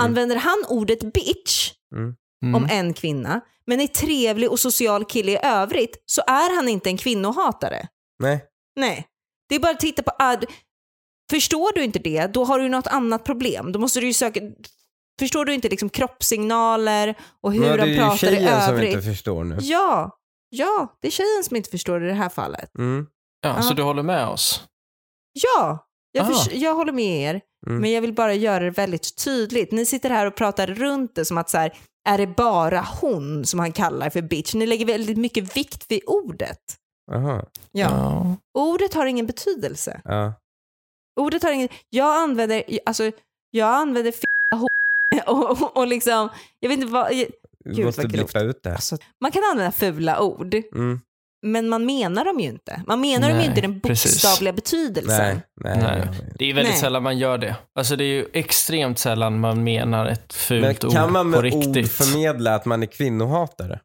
Använder han ordet bitch Mm. om en kvinna, men är trevlig och social kille i övrigt så är han inte en kvinnohatare. Nej. Nej. Det är bara att titta på... Ad. Förstår du inte det, då har du ju något annat problem. Då måste du ju söka... Förstår du inte liksom kroppssignaler och hur Men det är de ju pratar i tjejen som inte övrigt? förstår nu. Ja, ja, det är tjejen som inte förstår det i det här fallet. Mm. Ja, så Ja. du håller med oss? Ja, jag, Ah. förs- jag håller med er. Mm. Men jag vill bara göra det väldigt tydligt. Ni sitter här och pratar runt det som att så här, är det bara hon som han kallar för bitch? Ni lägger väldigt mycket vikt vid ordet. Aha. Ja. Ordet har ingen betydelse. Ja. Ordet har ingen... Jag använder, alltså, jag använder f*** *laughs* och, och, och liksom, jag vet inte vad... Vi Gud, måste vad grovt. blippa ut det. här. Alltså, man kan använda fula ord, Mm. men man menar dem ju inte. Man menar dem Nej, ju inte i den precis. bokstavliga betydelsen. Nej. Nej. Nej. Det är väldigt Nej. sällan man gör det. Alltså det är ju extremt sällan man menar ett Men fult kan ord man på med ord riktigt. förmedla att man är kvinnohatare?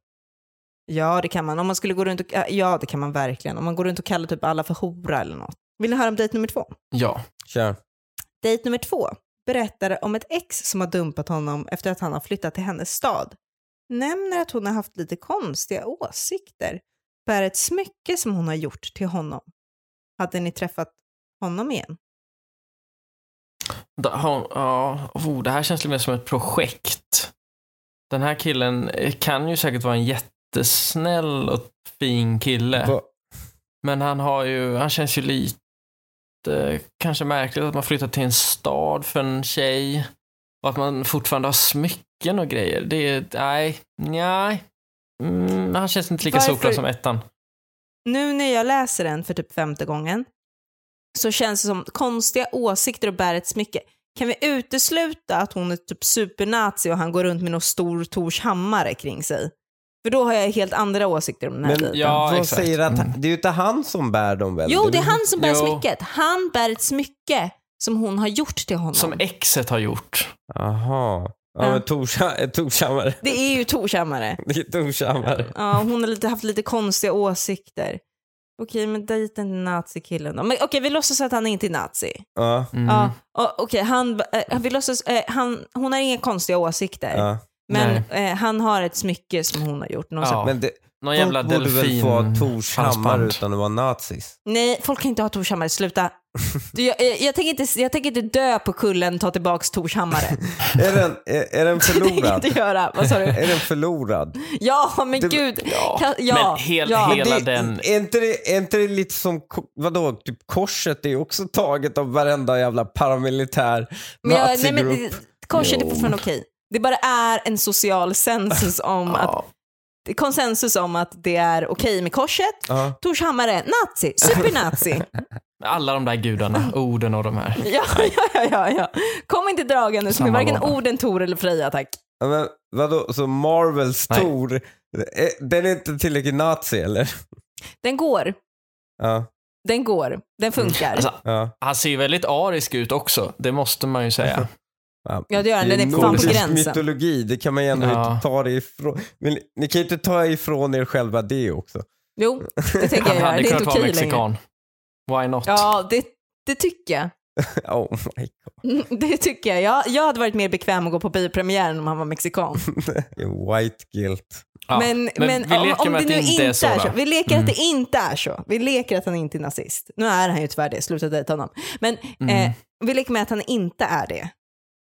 Ja, det kan man. Om man skulle gå runt och, ja, det kan man verkligen. Om man går runt och kallar typ alla för hora eller något. Vill ni höra om dejt nummer två? Ja. Kör. Dejt nummer två berättar om ett ex som har dumpat honom efter att han har flyttat till hennes stad. Nämner att hon har haft lite konstiga åsikter. Bär ett smycke som hon har gjort till honom. Hade ni träffat honom igen? Da- ha- Ja, oh, det här känns lite mer som ett projekt. Den här killen eh, kan ju säkert vara en jättesnäll och fin kille. Va- Men han har ju, han känns ju lite eh, kanske märkligt att man flyttat till en stad för en tjej och att man fortfarande har smycken och grejer. Det är, nej, nej. Mm, han känns inte lika Varför- solklar som ettan. Nu när jag läser den för typ femte gången så känns det som konstiga åsikter och bär ett smycke. Kan vi utesluta att hon är typ supernazi och han går runt med någon stor Tors hammare kring sig? För då har jag helt andra åsikter om den här Men dejten. Ja, vad exakt. säger att Mm. Det är ju inte han som bär dem väl? Jo, det är väl- han som bär Jo. smycket. Han bär ett smycke som hon har gjort till honom. Som exet har gjort. Jaha. Ja, Ja. men Torsa- *laughs* eh, Torshammar. Det är ju Torshammare. Det är Torshammar. Ja, hon har lite, haft lite konstiga åsikter. Okej, men dejta inte nazikillen då. Men okej, vi låtsas att han inte är nazi. Ja. Mm. Ja, och- okej, han, eh, vi låtsas, eh, han, hon har inga konstiga åsikter. ja. Men eh, han har ett smycke som hon har gjort. Någon Ja. sorts- Men det, Någon jävla folk borde väl få ha delfin. Torshammar halsband. utan att vara nazis? Nej, folk kan inte ha Torshammare, sluta. Du, jag, jag, jag, tänker inte, jag tänker inte dö på kullen, ta tillbaks *laughs* Torshammare. Är den, är, är den Det tänker jag förlorad? inte göra. Vad sa du? är den förlorad? Ja, men Det- gud. Ja. Kan- ja, Men hel, ja. Men *laughs* hela det, den. Är inte det, är inte det lite som, ko- vadå, typ korset är ju också taget av varenda jävla paramilitär Men jag, nej, nazigrupp. men, korset är fortfarande okej. Det bara är en social sensus om att, *laughs* Ja. konsensus om att det är okej med korset. Ja. Torshammare, nazi, supernazi. Alla de *laughs* där gudarna, orden och de här. ja, ja, ja, ja, ja. Kom inte dragandes med Samma varken låda. orden Tor eller Freja, tack. Ja, men vadå, så Marvels Nej. Tor, eh, den är inte tillräckligt nazi eller? Den går, Ja, den går, den funkar. Alltså, ja. han ser ju väldigt arisk ut också, det måste man *laughs* ju säga. Ja, det gör den. Den är fan på nordisk gränsen. mytologi, det kan man ju ändå Ja. inte ta det ifrån. Men, ni kan ju inte ta ifrån er själva det också. *laughs* Jo, det tänker jag Han göra. hade Det är kunnat inte vara okej längre. mexikan. Why not? Ja, det, det tycker jag. *laughs* Oh my god. Mm, Det tycker jag. jag. Jag hade varit mer bekväm att gå på biopremiären om han var mexikan. White guilt. Ja, men men vi om, leker om med det att nu inte är, så. då. Mm. Vi leker att det inte är så. Vi leker att han inte är nazist. Nu är han ju tyvärr det, sluta dejta honom. Men Mm. eh, vi leker med att han inte är det.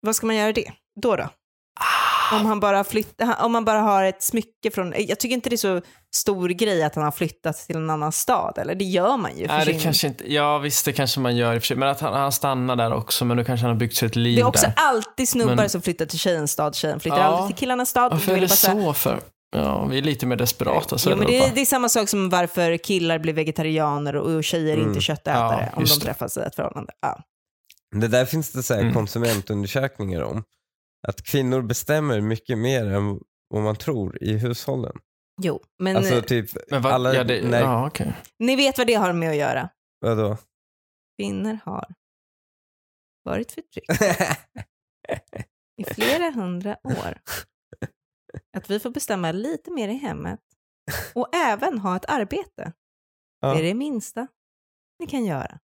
Vad ska man göra det? Då då? Ah. Om han bara, flytt, om han bara har ett smycke från... Jag tycker inte det är så stor grej att han har flyttat till en annan stad. Eller det gör man ju. för Nej, det sin- kanske inte, ja visst, det kanske man gör i och för sig. Men att han, han stannar där också, men nu kanske han har byggt sig ett liv det är också där. alltid snubbar Men- som flyttar till tjejens stad. Tjejen flyttar Ja. aldrig till killarnas stad. Varför Jag är vill det bara säga- så för? Ja, vi är lite mer desperata Jo, men det, söderut. det är samma sak som varför killar blir vegetarianer och, och tjejer Mm. inte köttätare Ja, om de just det. träffas i ett förhållande. Ja. Det där finns det så här Mm. konsumentundersökningar om. Att kvinnor bestämmer mycket mer än vad man tror i hushållen. Jo, men Alltså eh, typ, Men vad, alla, ja, det, nej, Mm. ja, okej. ni vet vad det har med att göra. vadå? *laughs* Kvinnor har varit förtryckta i flera hundra *laughs* år. Att vi får bestämma lite mer i hemmet och även ha ett arbete. Ja. Det är det minsta ni kan göra.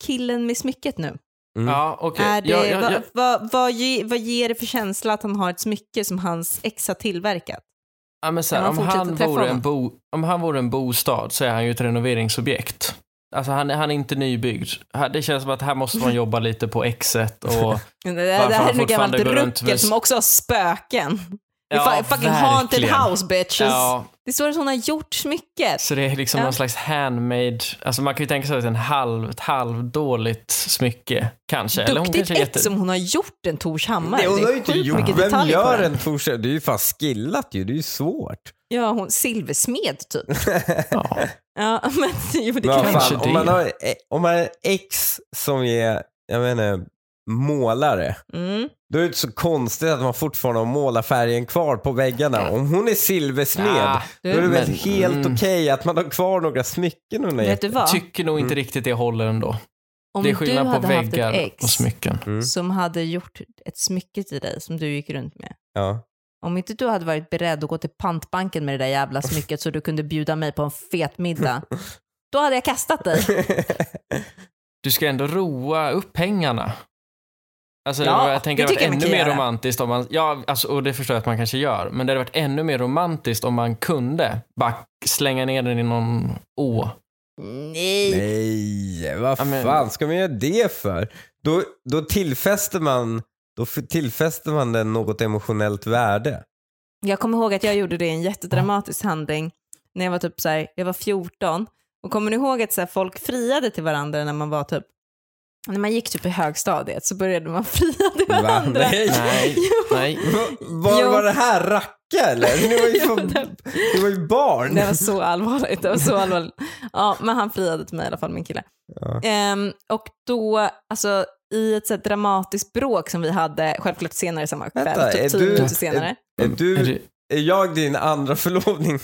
Killen med smycket nu. Mm. Ja, okej. Är det, Ja, ja, vad- ja. Vad, vad, ge- vad ger det för känsla att han har ett smycke som hans ex har tillverkat? Ja, men så Kan här, om, man fortsätta han träffa vore en honom? bo, om han vore en bostad så är han ju ett renoveringsobjekt. Alltså han, han är inte nybyggd. Här- Det känns som att här måste man jobba lite på *laughs* exet och... Det, Varför det här han är nog gammalt fortfarande går runt ruckel med- som också har spöken. Ja, Ja, fucking haunted verkligen. house bitches. Ja, Det står att hon har gjort smycket. Så det är liksom Ja. någon slags handmade, alltså man kan ju tänka sig att det är en halv, ett halvdåligt smycke kanske. Eller hon Duktigt kanske ett är jätte... som hon har gjort en Torshammar. Nej, hon har ju sjukt inte gjort. mycket Vem detaljer på gör den. en Torshäll? Det är ju fan skillat ju. Det är ju svårt. Ja, hon, silversmed typ. ja. Ja, *laughs* men jo, det Men kan vad kanske fan, det. om, man har, eh, om man har en ex som är, jag menar, målare. mm. Då är det inte så konstigt att man fortfarande har målarfärgen kvar på väggarna. Om hon är silversmed, Ja, då är det väl Ah, men- helt mm. okej att man har kvar några smycken hon har Vet gett. du vad? Tycker nog Mm. inte riktigt det håller ändå. Om det är du skillnad på hade haft väggar ett ex och smycken. Mm. som hade gjort ett smycke till dig som du gick runt med. Ja. Om inte du hade varit beredd att gå till pantbanken med det där jävla smycket så du kunde bjuda mig på en *laughs* fet middag, då hade jag kastat dig. Du ska ändå roa upp pengarna. Alltså, Ja, jag tänker det tycker det hade jag varit man ännu kan mer göra. romantiskt om man, ja, alltså, och det förstår jag att man kanske gör, men det hade varit ännu mer romantiskt om man kunde bara slänga ner den i någon å. Nej. Nej, vad Ja, men- fan ska man göra det för? Då, då tillfäster man då f- tillfäster man den något emotionellt värde. Jag kommer ihåg att jag gjorde det i en jättedramatisk handling när jag var typ så här, jag var 14. Och kommer ni ihåg att så här, folk friade till varandra när man var typ, när man gick typ i högstadiet så började man *laughs* fria till Va? varandra. Nej. Nej, *laughs* Jo. nej. Va- Var, Jo. var det här racka eller? Ni var ju, för, ni var ju barn. Det var så allvarligt. Det var så allvarligt. Ja, men han friade till mig i alla fall, min kille. Ja. Ehm, och då, alltså i ett så här dramatiskt bråk som vi hade, självklart senare samma kväll, Vänta, är typ tio du- minuter senare. Är, du, Är det- är jag din andra förlovning?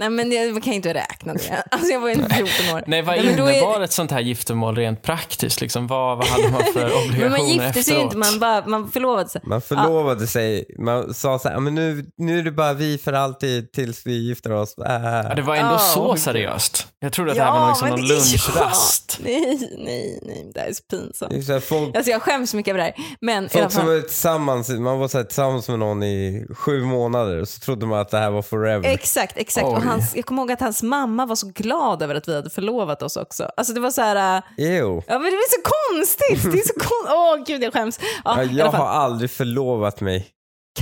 Nej men jag man kan ju inte räkna det. Alltså jag var ju inte 14 år. Nej, vad Nej, men då är- innebar ett sånt här giftermål rent praktiskt? Liksom, vad, vad hade man för obligationer *laughs* Men man gifte sig ju efteråt? inte, man, bara, man förlovade sig. Man förlovade sig, man sa så här, men nu, nu är det bara vi för alltid tills vi gifter oss. Ja, Äh. det var ändå Ja, så okej. seriöst. Jag trodde att Ah, Ja, det här var liksom men någon det- lunchrast. Nej, nej, nej, det här är så pinsamt. Det är så här, folk Alltså jag skäms så mycket över det här. Men i alla folk som fall, var tillsammans, man var så här, tillsammans med någon i sju månader och så trodde man att det här var forever. exakt, exakt. Och Oj. hans, jag kommer ihåg att hans mamma var så glad över att vi hade förlovat oss också. Alltså det var så här... äh, Ew. Ja men det är så konstigt, det är så konstigt. *laughs* Åh gud jag skäms. Ja, Ja, i alla jag fall. har aldrig förlovat mig.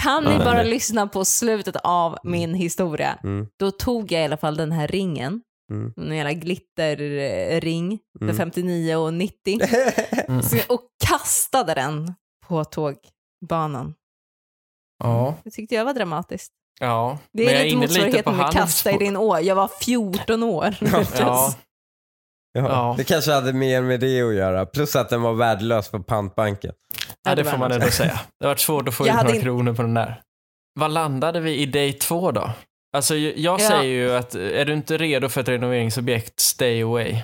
Kan ni Nej. bara lyssna på slutet av min historia? Mm. Då tog jag i alla fall den här ringen, Mm. en jävla glitterring för Mm. 59 och 90 *laughs* Så jag- och kastade den på tågbanan. Ja. Det tyckte jag var dramatiskt. ja. Det Men är jag lite inne på motsvarigheten med hans kasta i spår. din å. Jag var 14 år. *laughs* Ja. Ja. Ja. Det kanske hade mer med det att göra, plus att den var värdelös på pantbanken. ja, det var får man något. ändå säga. Det har varit svårt att få Jag ut hade några in- kronor på den där. Vad landade vi i day två då? Alltså, jag jag Ja. säger ju att eh, är du inte redo för ett renoveringsobjekt, stay away. *laughs*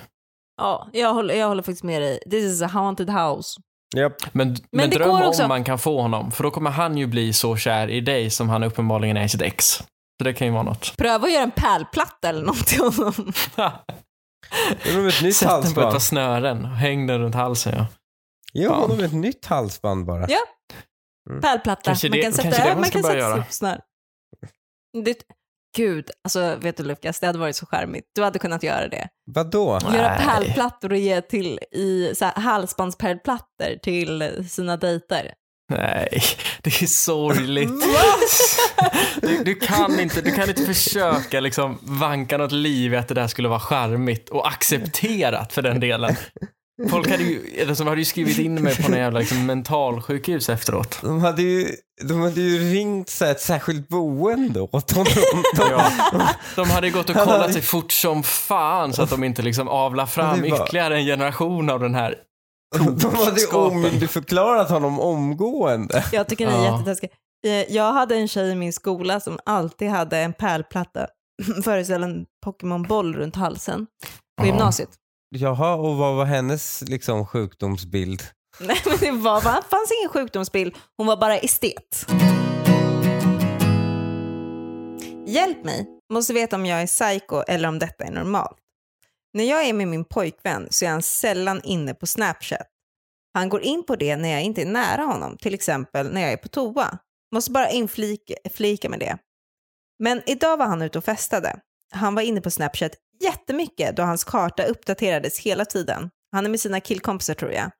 Ja, jag håller, jag håller faktiskt med dig. This is a haunted house. Japp. Men, men, det dröm går om också- man kan få honom, för då kommer han ju bli så kär i dig som han uppenbarligen är i sitt ex. Så det kan ju vara något. Pröva att göra en pärlplatta eller något till honom. Ge honom ett nytt Sätt den på ett par halsband. snören och häng den runt halsen. Ja. Ge honom ett nytt halsband bara. Ja. Pärlplatta. Kanske man det- kan sätta, kanske det man man ska kan börja sätta göra. snör. Det, gud, alltså vet du Lukas, det hade varit så charmigt. Du hade kunnat göra det. Vadå? Göra Nej. pärlplattor och ge till i så här, halsbandspärlplattor till sina dejter. Nej, *laughs* det är sorgligt. Mm, *laughs* Du, du, kan inte, du kan inte försöka liksom vanka något liv i att det där skulle vara charmigt och accepterat för den delen. Folk hade ju, eller som hade ju skrivit in mig på någon jävla liksom, mentalsjukhus efteråt. De hade ju, de hade ju ringt så här, ett särskilt boende åt *laughs* honom. De, De hade ju gått och kollat sig fort som fan så att de inte liksom avlar fram Det var- ytterligare en generation av den här de hade ju Skapen. omyndigförklarat honom omgående. Jag tycker ni är *laughs* Ja. jättetaskiga. Eh, Jag hade en tjej i min skola som alltid hade en pärlplatta *laughs* föreställande en Pokémon-boll runt halsen på Ja. gymnasiet. Jaha, och vad var hennes liksom, sjukdomsbild? *laughs* Nej, men det var, det fanns ingen sjukdomsbild, hon var bara estet. Hjälp mig, måste veta om jag är psycho eller om detta är normalt. När jag är med min pojkvän så är han sällan inne på Snapchat. Han går in på det när jag inte är nära honom, till exempel när jag är på toa. Måste bara inflika flika med det. Men idag var han ute och festade. Han var inne på Snapchat jättemycket då hans karta uppdaterades hela tiden. Han är med sina killkompisar tror jag.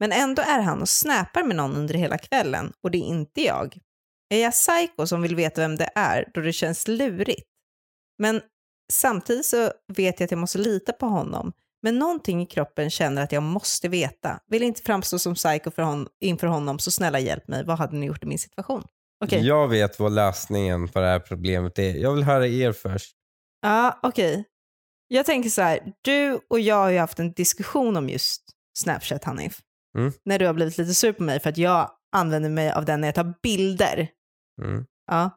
Men ändå är han och snappar med någon under hela kvällen och det är inte jag. Är jag psycho som vill veta vem det är då det känns lurigt? Men samtidigt så vet jag att jag måste lita på honom. Men någonting i kroppen känner att jag måste veta. Vill inte framstå som psycho för hon- inför honom så snälla hjälp mig. Vad hade ni gjort i min situation? Okej. Jag vet vad lösningen på det här problemet är. Jag vill höra er först. Ja, okej. Jag tänker så här, du och jag har ju haft en diskussion om just Snapchat, Hanif. Mm. När du har blivit lite sur på mig för att jag använder mig av den när jag tar bilder. Mm. Ja.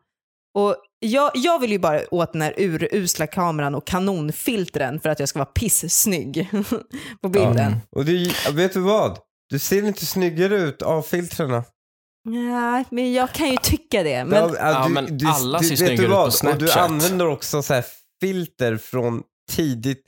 Och jag, jag vill ju bara åt den här urusla kameran och kanonfiltren för att jag ska vara pissnygg *laughs* på bilden. Mm. Och du, vet du vad? Du ser inte snyggare ut av filtrerna. Nej, men jag kan ju *laughs* tycka det. Men, Ja, Ja, men alla ser vet snyggare du ut på vad? Och du Snapchat. använder också så här filter från tidigt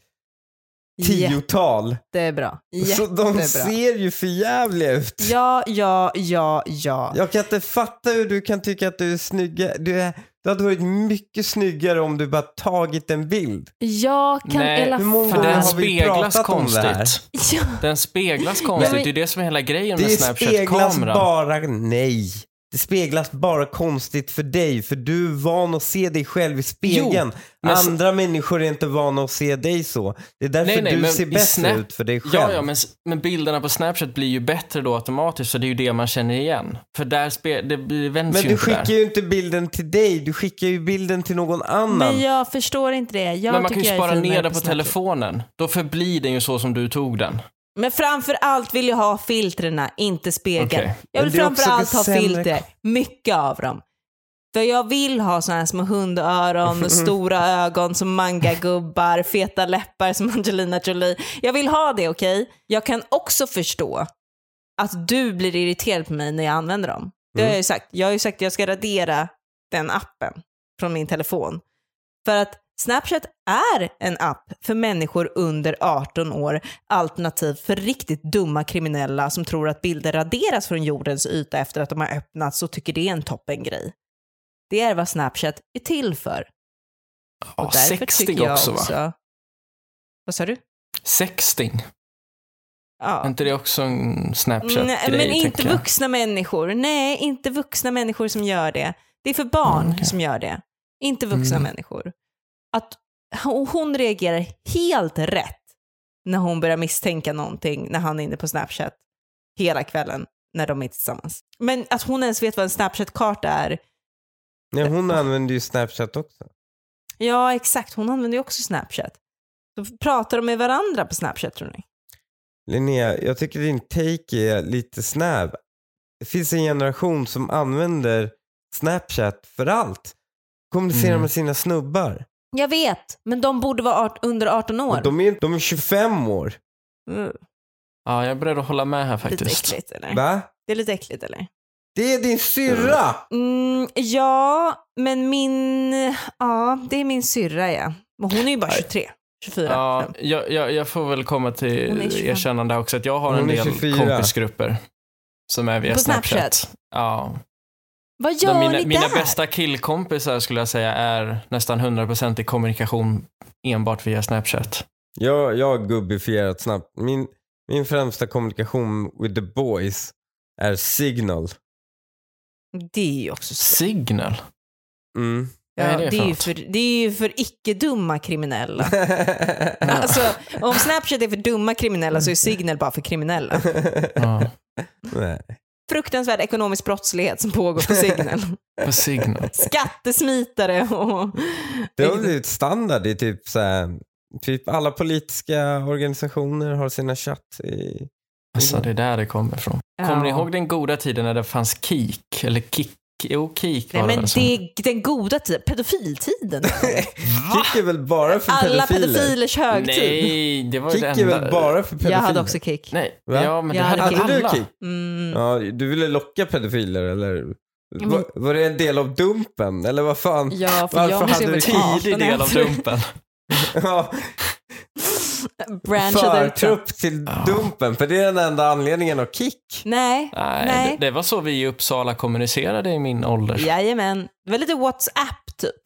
tiotal. Jättebra. Så de Jättebra. ser ju förjävliga ut. Ja, ja, ja, ja. Jag kan inte fatta hur du kan tycka att du är snyggare. Du, är, du hade varit mycket snyggare om du bara tagit en bild. Jag kan Nej, i alla hur många För Fan, den har fall... vi speglas pratat om det här? konstigt. Ja. Den speglas konstigt. men- Det är ju det som är hela grejen med Det speglas Snapchat-kameran. bara, nej. Det speglas bara konstigt för dig, för du är van att se dig själv i spegeln. men s- Andra människor är inte vana att se dig så. Det är därför Nej, nej, du men ser i bättre Snap- ut för dig själv. Ja, ja men, s- men bilderna på Snapchat blir ju bättre då automatiskt, så det är ju det man känner igen. För där spe, det blir- vänds Men ju du inte skickar där. ju inte bilden till dig, du skickar ju bilden till någon annan. Men jag förstår inte det. Jag men man kan tycker ju jag är spara ner finare den på Snapchat. telefonen. Då förblir den ju så som du tog den. Men framför allt vill jag ha filtrerna, inte spegeln. Okej. Jag Men vill det är också framför allt ha sämre- filter, mycket av dem. För jag vill ha sådana här *laughs* små hundöron, stora ögon som mangagubbar, feta läppar som *laughs* Angelina Jolie. Jag vill ha det, okej? Jag kan också förstå att du blir irriterad på mig när jag använder dem. Det Mm. har jag ju sagt. Jag har ju sagt att jag ska radera den appen från min telefon. För att Snapchat är en app för människor under 18 år, alternativt för riktigt dumma kriminella som tror att bilder raderas från jordens yta efter att de har öppnats och tycker det är en toppengrej. Det är vad Snapchat är till för. Ja, Och därför tycker 60 jag också, va? Vad sa du? Sexting. Är Ja. inte det också en Nej, Snapchat-grej? men tänker inte jag? vuxna människor. Nej, inte vuxna människor som gör det. Det är för barn Mm, okej. som gör det. Inte vuxna Mm. människor. Att och hon reagerar helt rätt när hon börjar misstänka någonting när han är inne på Snapchat hela kvällen när de är tillsammans. Men att hon ens vet vad en Snapchat-karta är. Nej, hon använder ju Snapchat också. Ja, exakt. Hon använder ju också Snapchat. Så pratar de med varandra på Snapchat tror ni? Linnea, jag tycker din take är lite snäv. Det finns en generation som använder Snapchat för allt. Kommunicerar Mm. med sina snubbar. Jag vet, men de borde vara art- under 18 år. Och de, är, de är 25 år. Mm, Ja, jag är beredd att hålla med här lite faktiskt. äckligt eller? Va? Det är lite äckligt eller? Det är din syrra! Mm, ja, men min... Ja, det är min syrra ja. Men hon är ju bara 23, 24. Ja, jag, jag, jag får väl komma Hon är till 25. erkännande också att jag har Hon en är del 24. kompisgrupper som är via På Snapchat. Snapchat? Ja. Vad De gör mina, ni mina där? bästa killkompisar skulle jag säga är nästan 100% i kommunikation enbart via Snapchat. Jag, jag har gubbifierat snabbt. Min, min främsta kommunikation with the boys är signal. Det är ju också så. Signal? *laughs* Mm. Ja, Vad är det, det för är ju något? för, det är ju för icke-dumma kriminella. Alltså, om Snapchat är för dumma kriminella så är Signal bara för kriminella. Ja, *laughs* Nej. Fruktansvärd ekonomisk brottslighet som pågår på *laughs* Signal. på signal. Skattesmitare och... Det har blivit standard i typ så här, typ alla politiska organisationer har sina chatt i... Alltså det är där det kommer ifrån. Kommer ni ihåg den goda tiden när det fanns Kik? Eller Kik? Jo, Kik var Nej, det men väl som- det är den goda tiden, *laughs* pedofiltiden. Kick är väl bara för Alla pedofiler? pedofilers högtid. Nej, det var ju Kick det är enda. väl bara för pedofiler? Jag hade också kick. Nej, Va? ja men Jag det hade hade väl Hade du alla. kick? Mm. Ja, du ville locka pedofiler eller? Var, var det en del av dumpen eller vad fan? Ja, för Varför jag måste hade ju du vara tid i 18 Tidig del av efter- Dumpen. Ja, *laughs* Branchade ut. Förtrupp till dumpen, för det är den enda anledningen av kick. Nej, Nej, Nej. Det, det var så vi i Uppsala kommunicerade i min ålder. jajamän. Det var lite WhatsApp typ.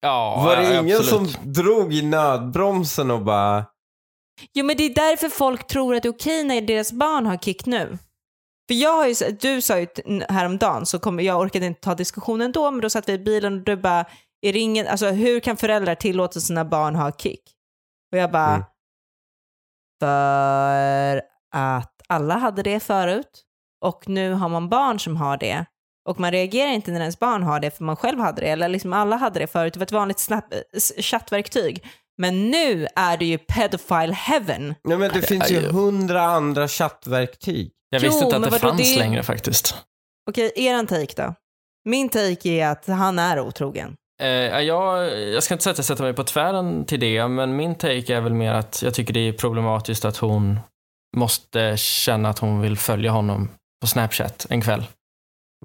Ja, var det ja, ingen absolut. som drog i nödbromsen och bara Jo men det är därför folk tror att det är okej när deras barn har kick nu. För jag har ju, s- du sa ju t- n- häromdagen, så kom, jag orkade inte ta diskussionen då, men då satt vi i bilen och du bara, i ringen, alltså hur kan föräldrar tillåta sina barn ha kick? Och jag bara, Mm. för att alla hade det förut och nu har man barn som har det. Och man reagerar inte när ens barn har det för man själv hade det, eller liksom alla hade det förut, det var ett vanligt snap- s- chattverktyg. Men nu är det ju pedophile heaven. Nej men det finns ju ju- hundra andra chattverktyg. Jag Jo, visste inte att men det vadå, fanns det- längre faktiskt. Okej, eran take då? Min take är att han är otrogen. Eh, jag, jag ska inte säga att jag sätter mig på tvären till det, men min take är väl mer att jag tycker det är problematiskt att hon måste känna att hon vill följa honom på Snapchat en kväll.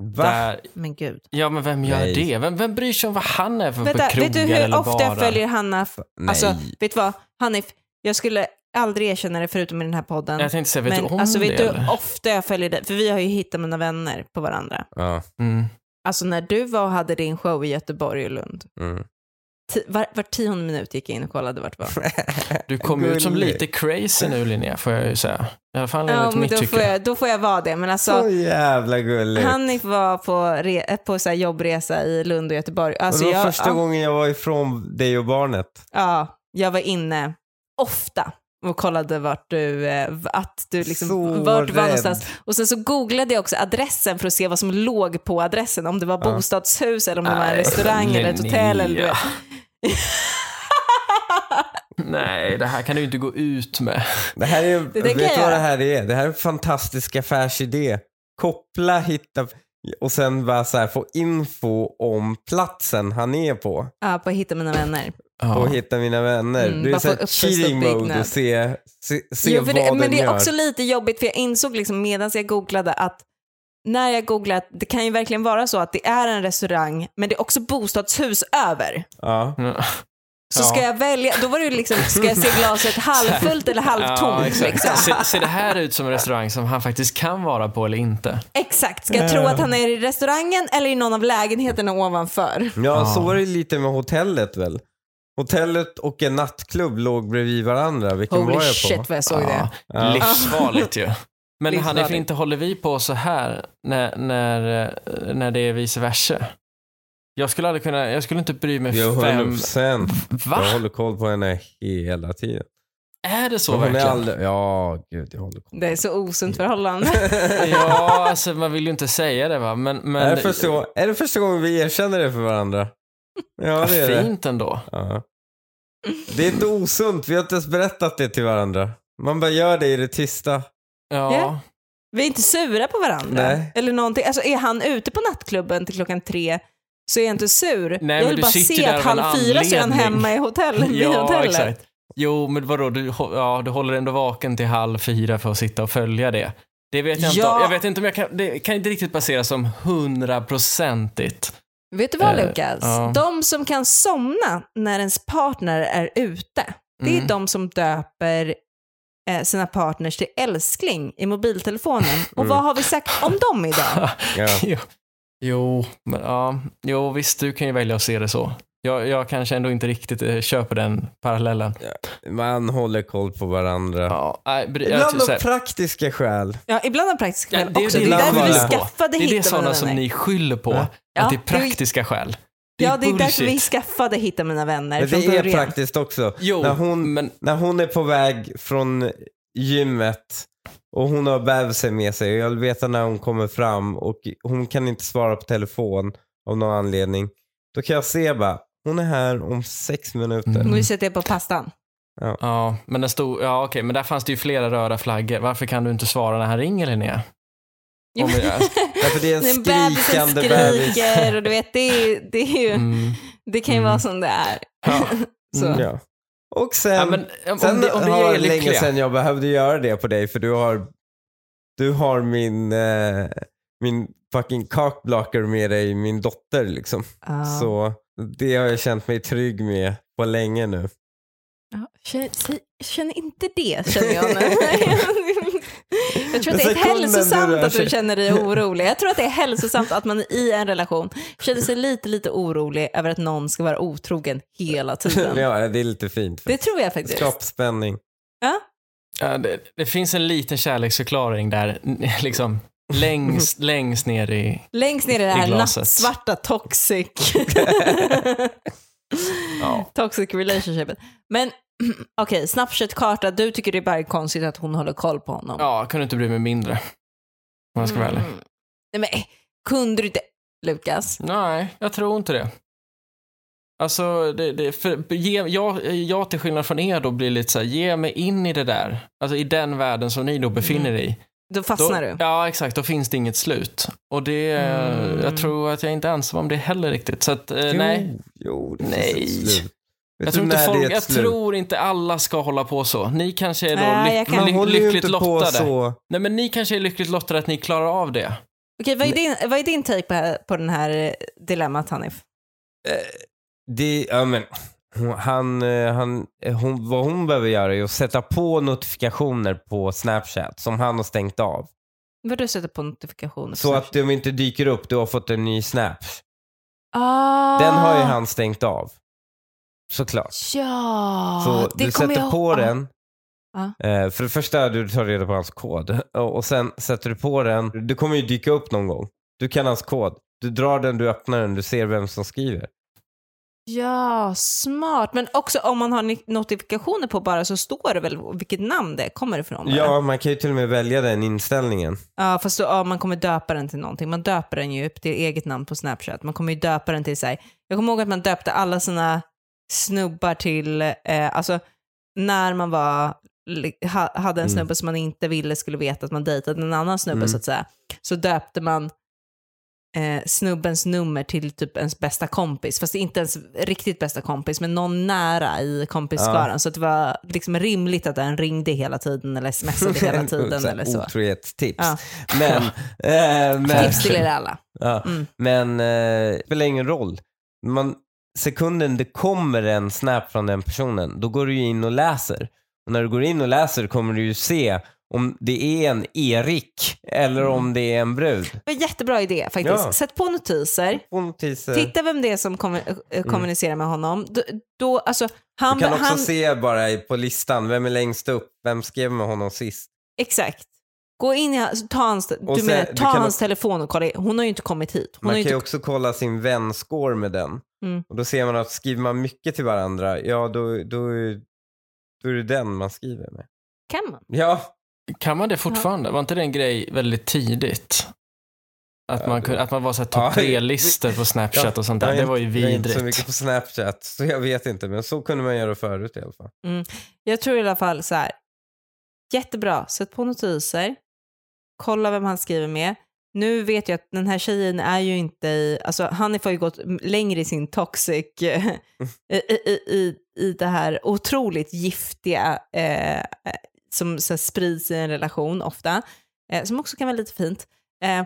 Va? Där, Men gud. ja, men vem gör Nej. det? Vem, vem bryr sig om vad han är för Vänta, på krogar vet du hur eller ofta jag barer? följer Hanna? F- Nej. alltså, vet du vad? Hanif, jag skulle aldrig erkänna det förutom i den här podden. Jag tänkte säga, vet men du om alltså, det? vet du hur eller? ofta jag följer dig? För vi har ju hittat mina vänner på varandra. ja, Mm. Alltså när du var och hade din show i Göteborg och Lund. mm. Ti- var, var tionde minut gick jag in och kollade vart det var. Du kom ut som Gullig. lite crazy nu Linnea, får jag ju säga. I alla fall Ja, enligt men mitt då får, tycke. jag, då får jag vara det. Men alltså, Så jävla gulligt. Hanif var på, re, på så här jobbresa i Lund och Göteborg. Alltså, och det var jag, första ja. gången jag var ifrån dig och barnet. Ja, jag var inne ofta och kollade vart du, eh, att du liksom, Så vart du var rädd. någonstans. Och sen så googlade jag också adressen för att se vad som låg på adressen, om det var Ja. bostadshus eller om det var en Nej, restaurang eller ett hotell. Eller, du Linnea. vet. Nej, det här kan du ju inte gå ut med. Det här är, Det vet tänker du jag vad det göra. här är? Det här är en fantastisk affärsidé. Koppla, hitta och sen bara så här få info om platsen han är på. ja, på att hitta mina vänner. Ja. Och hitta mina vänner. Mm, det är bara så här få upp för cheating mode stor och byggnad. se, se, se Jo, för vad det, den men det är gör. också lite jobbigt för jag insåg liksom medan jag googlade att när jag googlade att det kan ju verkligen vara så att det är en restaurang men det är också bostadshus över. Ja. Ja. Så Ja. ska jag välja, då var det ju liksom, ska jag se *laughs* glaset halvfullt eller halvtomt? exakt. liksom? Ser, ser det här ut som en restaurang som han faktiskt kan vara på eller inte? Exakt, ska jag tro att han är i restaurangen eller i någon av lägenheterna ovanför? Ja, så var det lite med hotellet väl? Hotellet och en nattklubb låg bredvid varandra. Vilken var Holy jag på? shit vad jag såg det. Ja. Livsfarligt ju. Men han Livsfarligt. är, inte håller vi på så här när, när, eh, när det är vice versa? Jag skulle aldrig kunna, jag skulle inte bry mig Jag håller vem... sen. Va? Jag håller koll på henne hela tiden. Är det så Men hon är verkligen? aldrig... Ja, gud jag håller koll. Det är så osunt Mm. *laughs* förhållande. Ja, alltså man vill ju inte säga det va, men... men är, det första, gång- är det första gången vi erkänner det för *laughs* varandra? Ja, Vad det är det. fint ändå. Ja. Det är inte osunt, vi har inte ens berättat det till varandra. Man bara gör det i det tysta. Ja. Ja. Vi är inte sura på varandra. Nej. Eller någonting. Alltså är han ute på nattklubben till klockan tre så är jag inte sur. men jag vill du bara sitter se där att av en halv fyra så är han anledning. hemma i *laughs* hotellet. i Ja, hotellet. exakt. Jo, men vadå, du, hå- ja, du håller ändå vaken till halv fyra för att sitta och följa det. Det vet jag inte. Ja. om. Jag vet inte om jag kan, det kan inte riktigt baseras som hundraprocentigt. Vet du vad Eh, Lukas? ja. De som kan somna när ens partner är ute, det är Mm. de som döper eh, sina partners till älskling i mobiltelefonen. Och vad har vi sagt om dem idag? Ja. *laughs* Jo. Jo, men, ja. jo, visst du kan ju välja att se det så. Jag, jag kanske ändå inte riktigt eh, köper den parallellen. Man håller koll på varandra. Ja, nej, bry- jag, typ Ibland så av här, praktiska skäl. Ja, ibland av praktiska Ja, skäl det är också. det Det är ibland därför vi bara. skaffade det är det Hitta sådana mina som vänner. ni skyller på, Ja. att det är Ja, det är- praktiska skäl. Det är ja, det är därför vi bullshit. skaffade Hitta mina vänner Men från det är början. praktiskt också. Jo, När hon, men när hon är på väg från gymmet och hon har bebisen med sig och jag vill veta när hon kommer fram och hon kan inte svara på telefon av någon anledning. Då kan jag se bara, hon är här om sex minuter. Mm. Nu sätter jag på pastan. Ja, men, den stod, ja okej, men där fanns det ju flera röda flaggor. Varför kan du inte svara när han ringer Linnea? Jo, Om men- jag- Därför det är en Den bebisen skrikande bebis. skriker och du vet, det, är, det, är ju, Mm. det kan ju Mm. vara som det är. Ja. Så. Mm. Ja. Och sen, Ja, men, om, sen om, det, om vi har är det länge lyckliga. sedan jag behövde göra det på dig för du har, du har min, eh, min fucking cockblocker med dig, min dotter liksom. Ja. Så det har jag känt mig trygg med på länge nu. Ja, Känn, säg- känn inte det, känner *laughs* jag nu. jag Alltså, tror att det är Sekunden du hälsosamt rör att du sig. känner dig orolig. Jag tror att det är hälsosamt att man i en relation känner sig lite, lite orolig över att någon ska vara otrogen hela *laughs* tiden. ja, det är lite fint. Det tror jag faktiskt. Skapa spänning. Eh, Ja, det, det finns en liten kärleksförklaring där, *laughs* liksom längst, längst ner i... Längst ner i det I här glaset. nattsvarta toxic. *laughs* Ja. toxic relationshipet. Men *clears throat* okej, Snapchat-karta. Du tycker det är bara konstigt att hon håller koll på honom. Ja, jag kunde inte bry mig mindre. Om jag ska vara ärlig. Mm. Nej, men kunde du inte, Lukas? Nej, jag tror inte det. Alltså, det, det, för, ge, jag, jag till skillnad från er då blir lite så här, ge mig in i det där. Alltså i den världen som ni då befinner er i. Då Då, fastnar du. ja, exakt. Då finns det inget slut. Och det, Mm. jag tror att jag inte är ensam om det heller riktigt. Så att, eh, Jo, nej. Jo, det Nej. finns ett slut. Vet du Jag tror, inte när det är folk, ett jag slut? tror inte alla ska hålla på så. Ni kanske är då Nej, lyck, jag kan- Man ly- håller ju lyckligt inte på lottade. så. Nej, men ni kanske är lyckligt lottade att ni klarar av det. Okej, vad är din, vad är din take på, på den här eh, dilemmat Hanif? Det, ja, men, hon- han, eh, han, eh, hon, vad hon behöver göra är att sätta på notifikationer på Snapchat som han har stängt av. Vad du sätter på notifikationer? Så att de inte dyker upp, du har fått en ny Snap. ah, Den har ju han stängt av. Såklart. Ja, Så det du kommer sätter jag på ihåg. den. Ja. Eh, För det första, du tar reda på hans kod. Och och sen sätter du på den. Du kommer ju dyka upp någon gång. Du kan hans kod. Du drar den, du öppnar den, du ser vem som skriver. Ja, smart. Men också om man har ni- notifikationer på bara så står det väl vilket namn det kommer ifrån? bara. Ja, man kan ju till och med välja den inställningen. Ja, fast då, ja, man kommer döpa den till någonting. Man döper den ju upp till eget namn på Snapchat. Man kommer ju döpa den till sig. Jag kommer ihåg att man döpte alla sina snubbar till, eh, alltså när man var, li- ha, hade en Mm. snubbe som man inte ville skulle veta att man dejtade en annan snubbe Mm. så att säga, så döpte man eh, snubbens nummer till typ ens bästa kompis, fast inte ens riktigt bästa kompis, men någon nära i kompisskaran. Så att det var liksom rimligt att den ringde hela tiden eller smsade *laughs* Alltså, hela tiden Så här "Oh, eller så. Otrohetstips. Ja. Men, eh, men, Tips till er alla. ja. Mm. men eh, det spelar ingen roll. Man, sekunden det kommer en snap från den personen, då går du ju in och läser. Och när du går in och läser kommer du ju se om det är en Erik eller om det är en brud. Det var en jättebra idé faktiskt. Ja. Sätt på notiser. På notiser. Titta vem det är som kommer, eh, kommunicerar med honom. Då, då, alltså, han, Mm. Du kan också han, se bara i- på listan, vem är längst upp, vem skrev med honom sist? Exakt. Gå in i hans, ta hans, du sen- menar, du ta kan hans också- telefon och kolla. i- Hon har ju inte kommit hit. Hon Man har kan ju ju inte, också kolla sin vänscore med den. Mm. Och då ser man att skriver man mycket till varandra, ja då, då, är- då är det den man skriver med. kan man? Ja, Kan man det fortfarande? Var inte det en grej väldigt tidigt? Att man, kunde, att man var så här Ja. topp tre-listor på Snapchat och sånt där. jag är Det var ju inte- jag är inte så vidrigt. mycket på Snapchat så jag vet inte men så kunde man göra förut i alla fall. Jag tror i alla fall så här. Jättebra, sätt på notiser. Kolla vem han skriver med. Nu vet jag att den här tjejen är ju inte i, alltså Hanif har ju gått m- längre i sin toxic, *laughs* eh, i, i, i, i det här eh, otroligt giftiga eh, som så här, sprids i en relation ofta. eh, som också kan vara lite fint, eh,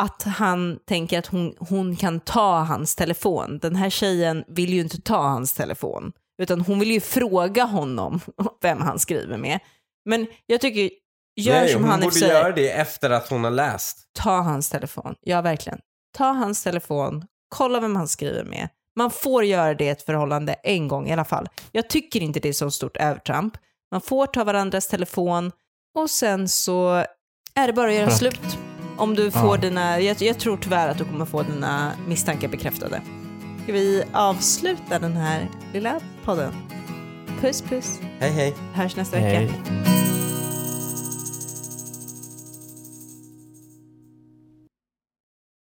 att han tänker att hon, hon kan ta hans telefon. Den här tjejen vill ju inte ta hans telefon, utan hon vill ju fråga honom *laughs* vem han skriver med. Men jag tycker, gör Nej, som hon han i och borde för sig- göra det efter att hon har läst. ta hans telefon. Ja, verkligen. Ta hans telefon, kolla vem han skriver med. Man får göra det i ett förhållande en gång i alla fall. Jag tycker inte det är så stort övertramp. Man får ta varandras telefon och sen så är det bara att göra Bra. slut. Om du får Ja. dina, jag, jag tror tyvärr att du kommer få dina misstankar bekräftade. Ska vi avsluta den här lilla podden? Puss puss, Hej hej. hörs nästa vecka. Hej.